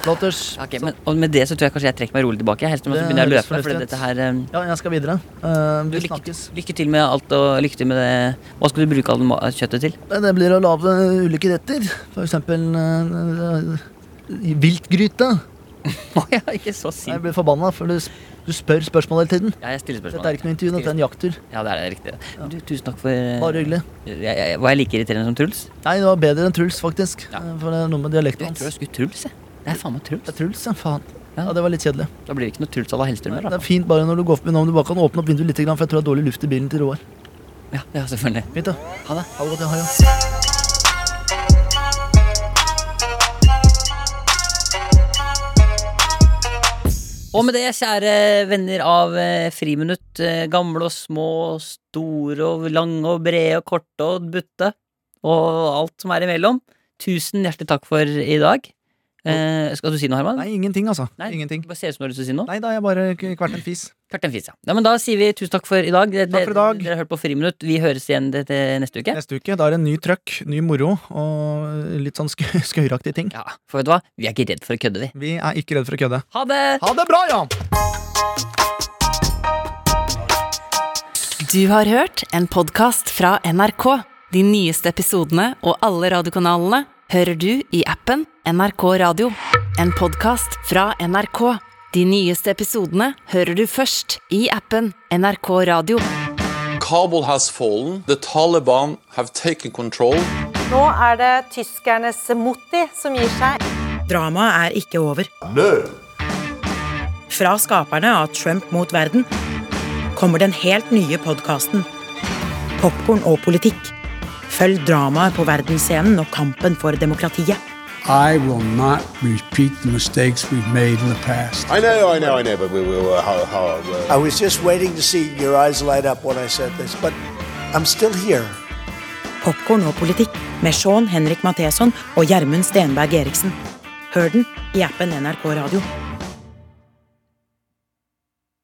S7: Flotters.
S2: Ok, men, og med det så tror jeg kanskje jeg trekker meg rolig tilbake. Helst om jeg
S7: Det
S2: begynner å løpe.
S7: høres
S2: For
S7: fornuftig ut.
S2: dette her eh,
S7: Ja, jeg skal videre. Eh,
S2: du,
S7: vi
S2: lykke,
S7: snakkes.
S2: lykke til med alt, og lykke til med det. Hva skal du bruke all det ma- kjøttet
S7: *laughs*
S2: til?
S7: Nei, Eh, Det blir å lage ulike retter. For eksempel eh, eh, viltgryte.
S2: Å ja, ikke så
S7: Nei, Jeg
S2: sint.
S7: blir forbanna, for du, s- du spør spørsmål hele tiden.
S2: Ja, jeg stiller spørsmål.
S7: Dette er ikke noe intervju, dette er en jakttur.
S2: Ja, det er det riktig. Men Du, tusen takk for eh,
S7: Bare hyggelig.
S2: jeg, jeg, Var jeg like irriterende som Truls?
S7: Nei, det var bedre enn Truls, faktisk.
S2: Ja.
S7: Eh, For det er noe med
S2: Du,
S7: dialekten
S2: jeg
S7: hans.
S2: tror jeg
S7: Det
S2: skulle Truls, jeg. Det er faen meg Truls.
S7: er Truls, ja. Faen.
S2: Ja.
S7: Ja, det var litt kjedelig.
S2: Da blir det ikke noe Truls à la Hellstrøm her,
S7: Det
S2: da.
S7: er fint bare når du går opp, men om du bare kan åpne opp vinduet litt, for jeg tror det er dårlig luft i bilen til Roar.
S2: Ja, ja, selvfølgelig.
S7: Fint, da.
S2: Ha det.
S7: Ha det godt. Ja, ha det.
S2: Og med det, kjære venner av eh, Friminutt, eh, gamle og små, store og lange og brede og korte og butte, og alt som er imellom, tusen hjertelig takk for i dag. Eh, skal du si noe, Herman?
S3: Nei, ingenting, altså.
S2: Nei.
S3: Ingenting.
S2: Bare ser ut som du har lyst til å si noe.
S3: Nei, da har jeg bare k- vært en fis.
S2: Kart en fis, ja. Nei, men da sier vi tusen takk for i dag. Dere-
S3: Takk for i dag.
S2: Dere har hørt på Friminutt. Vi høres igjen det- det neste uke.
S3: Neste uke da er det en ny trøkk, ny moro og litt sånn sk *laughs* skøyeraktige ting.
S2: Ja, for vet du hva? Vi er ikke redd for å kødde, vi.
S3: Vi er ikke redd for å kødde.
S2: Ha det!
S3: Ha det bra, Jan!
S1: Du har hørt en podkast fra NRK. De nyeste episodene og alle radiokanalene hører du i appen NRK Radio. En podkast fra NRK. De nyeste episodene hører du først i appen NRK Radio.
S8: Kabul has fallen. The Taliban have taken control.
S9: Nå er det tyskernes Motti som gir seg.
S10: Dramaet er ikke over. Fra skaperne av Trump mot verden kommer den helt nye podkasten Popkorn og politikk. Følg dramaet på verdensscenen og kampen for demokratiet.
S11: I will not repeat the mistakes we've made in the past.
S6: I know, I know, I know, but we will uh, how, how, uh,
S11: I was just waiting to see your eyes light up when I said this, but I'm still here.
S10: Popkorn og politikk med Sean Henrik Matheson og Gjermund Stenberg Eriksen. Hør den i appen NRK Radio.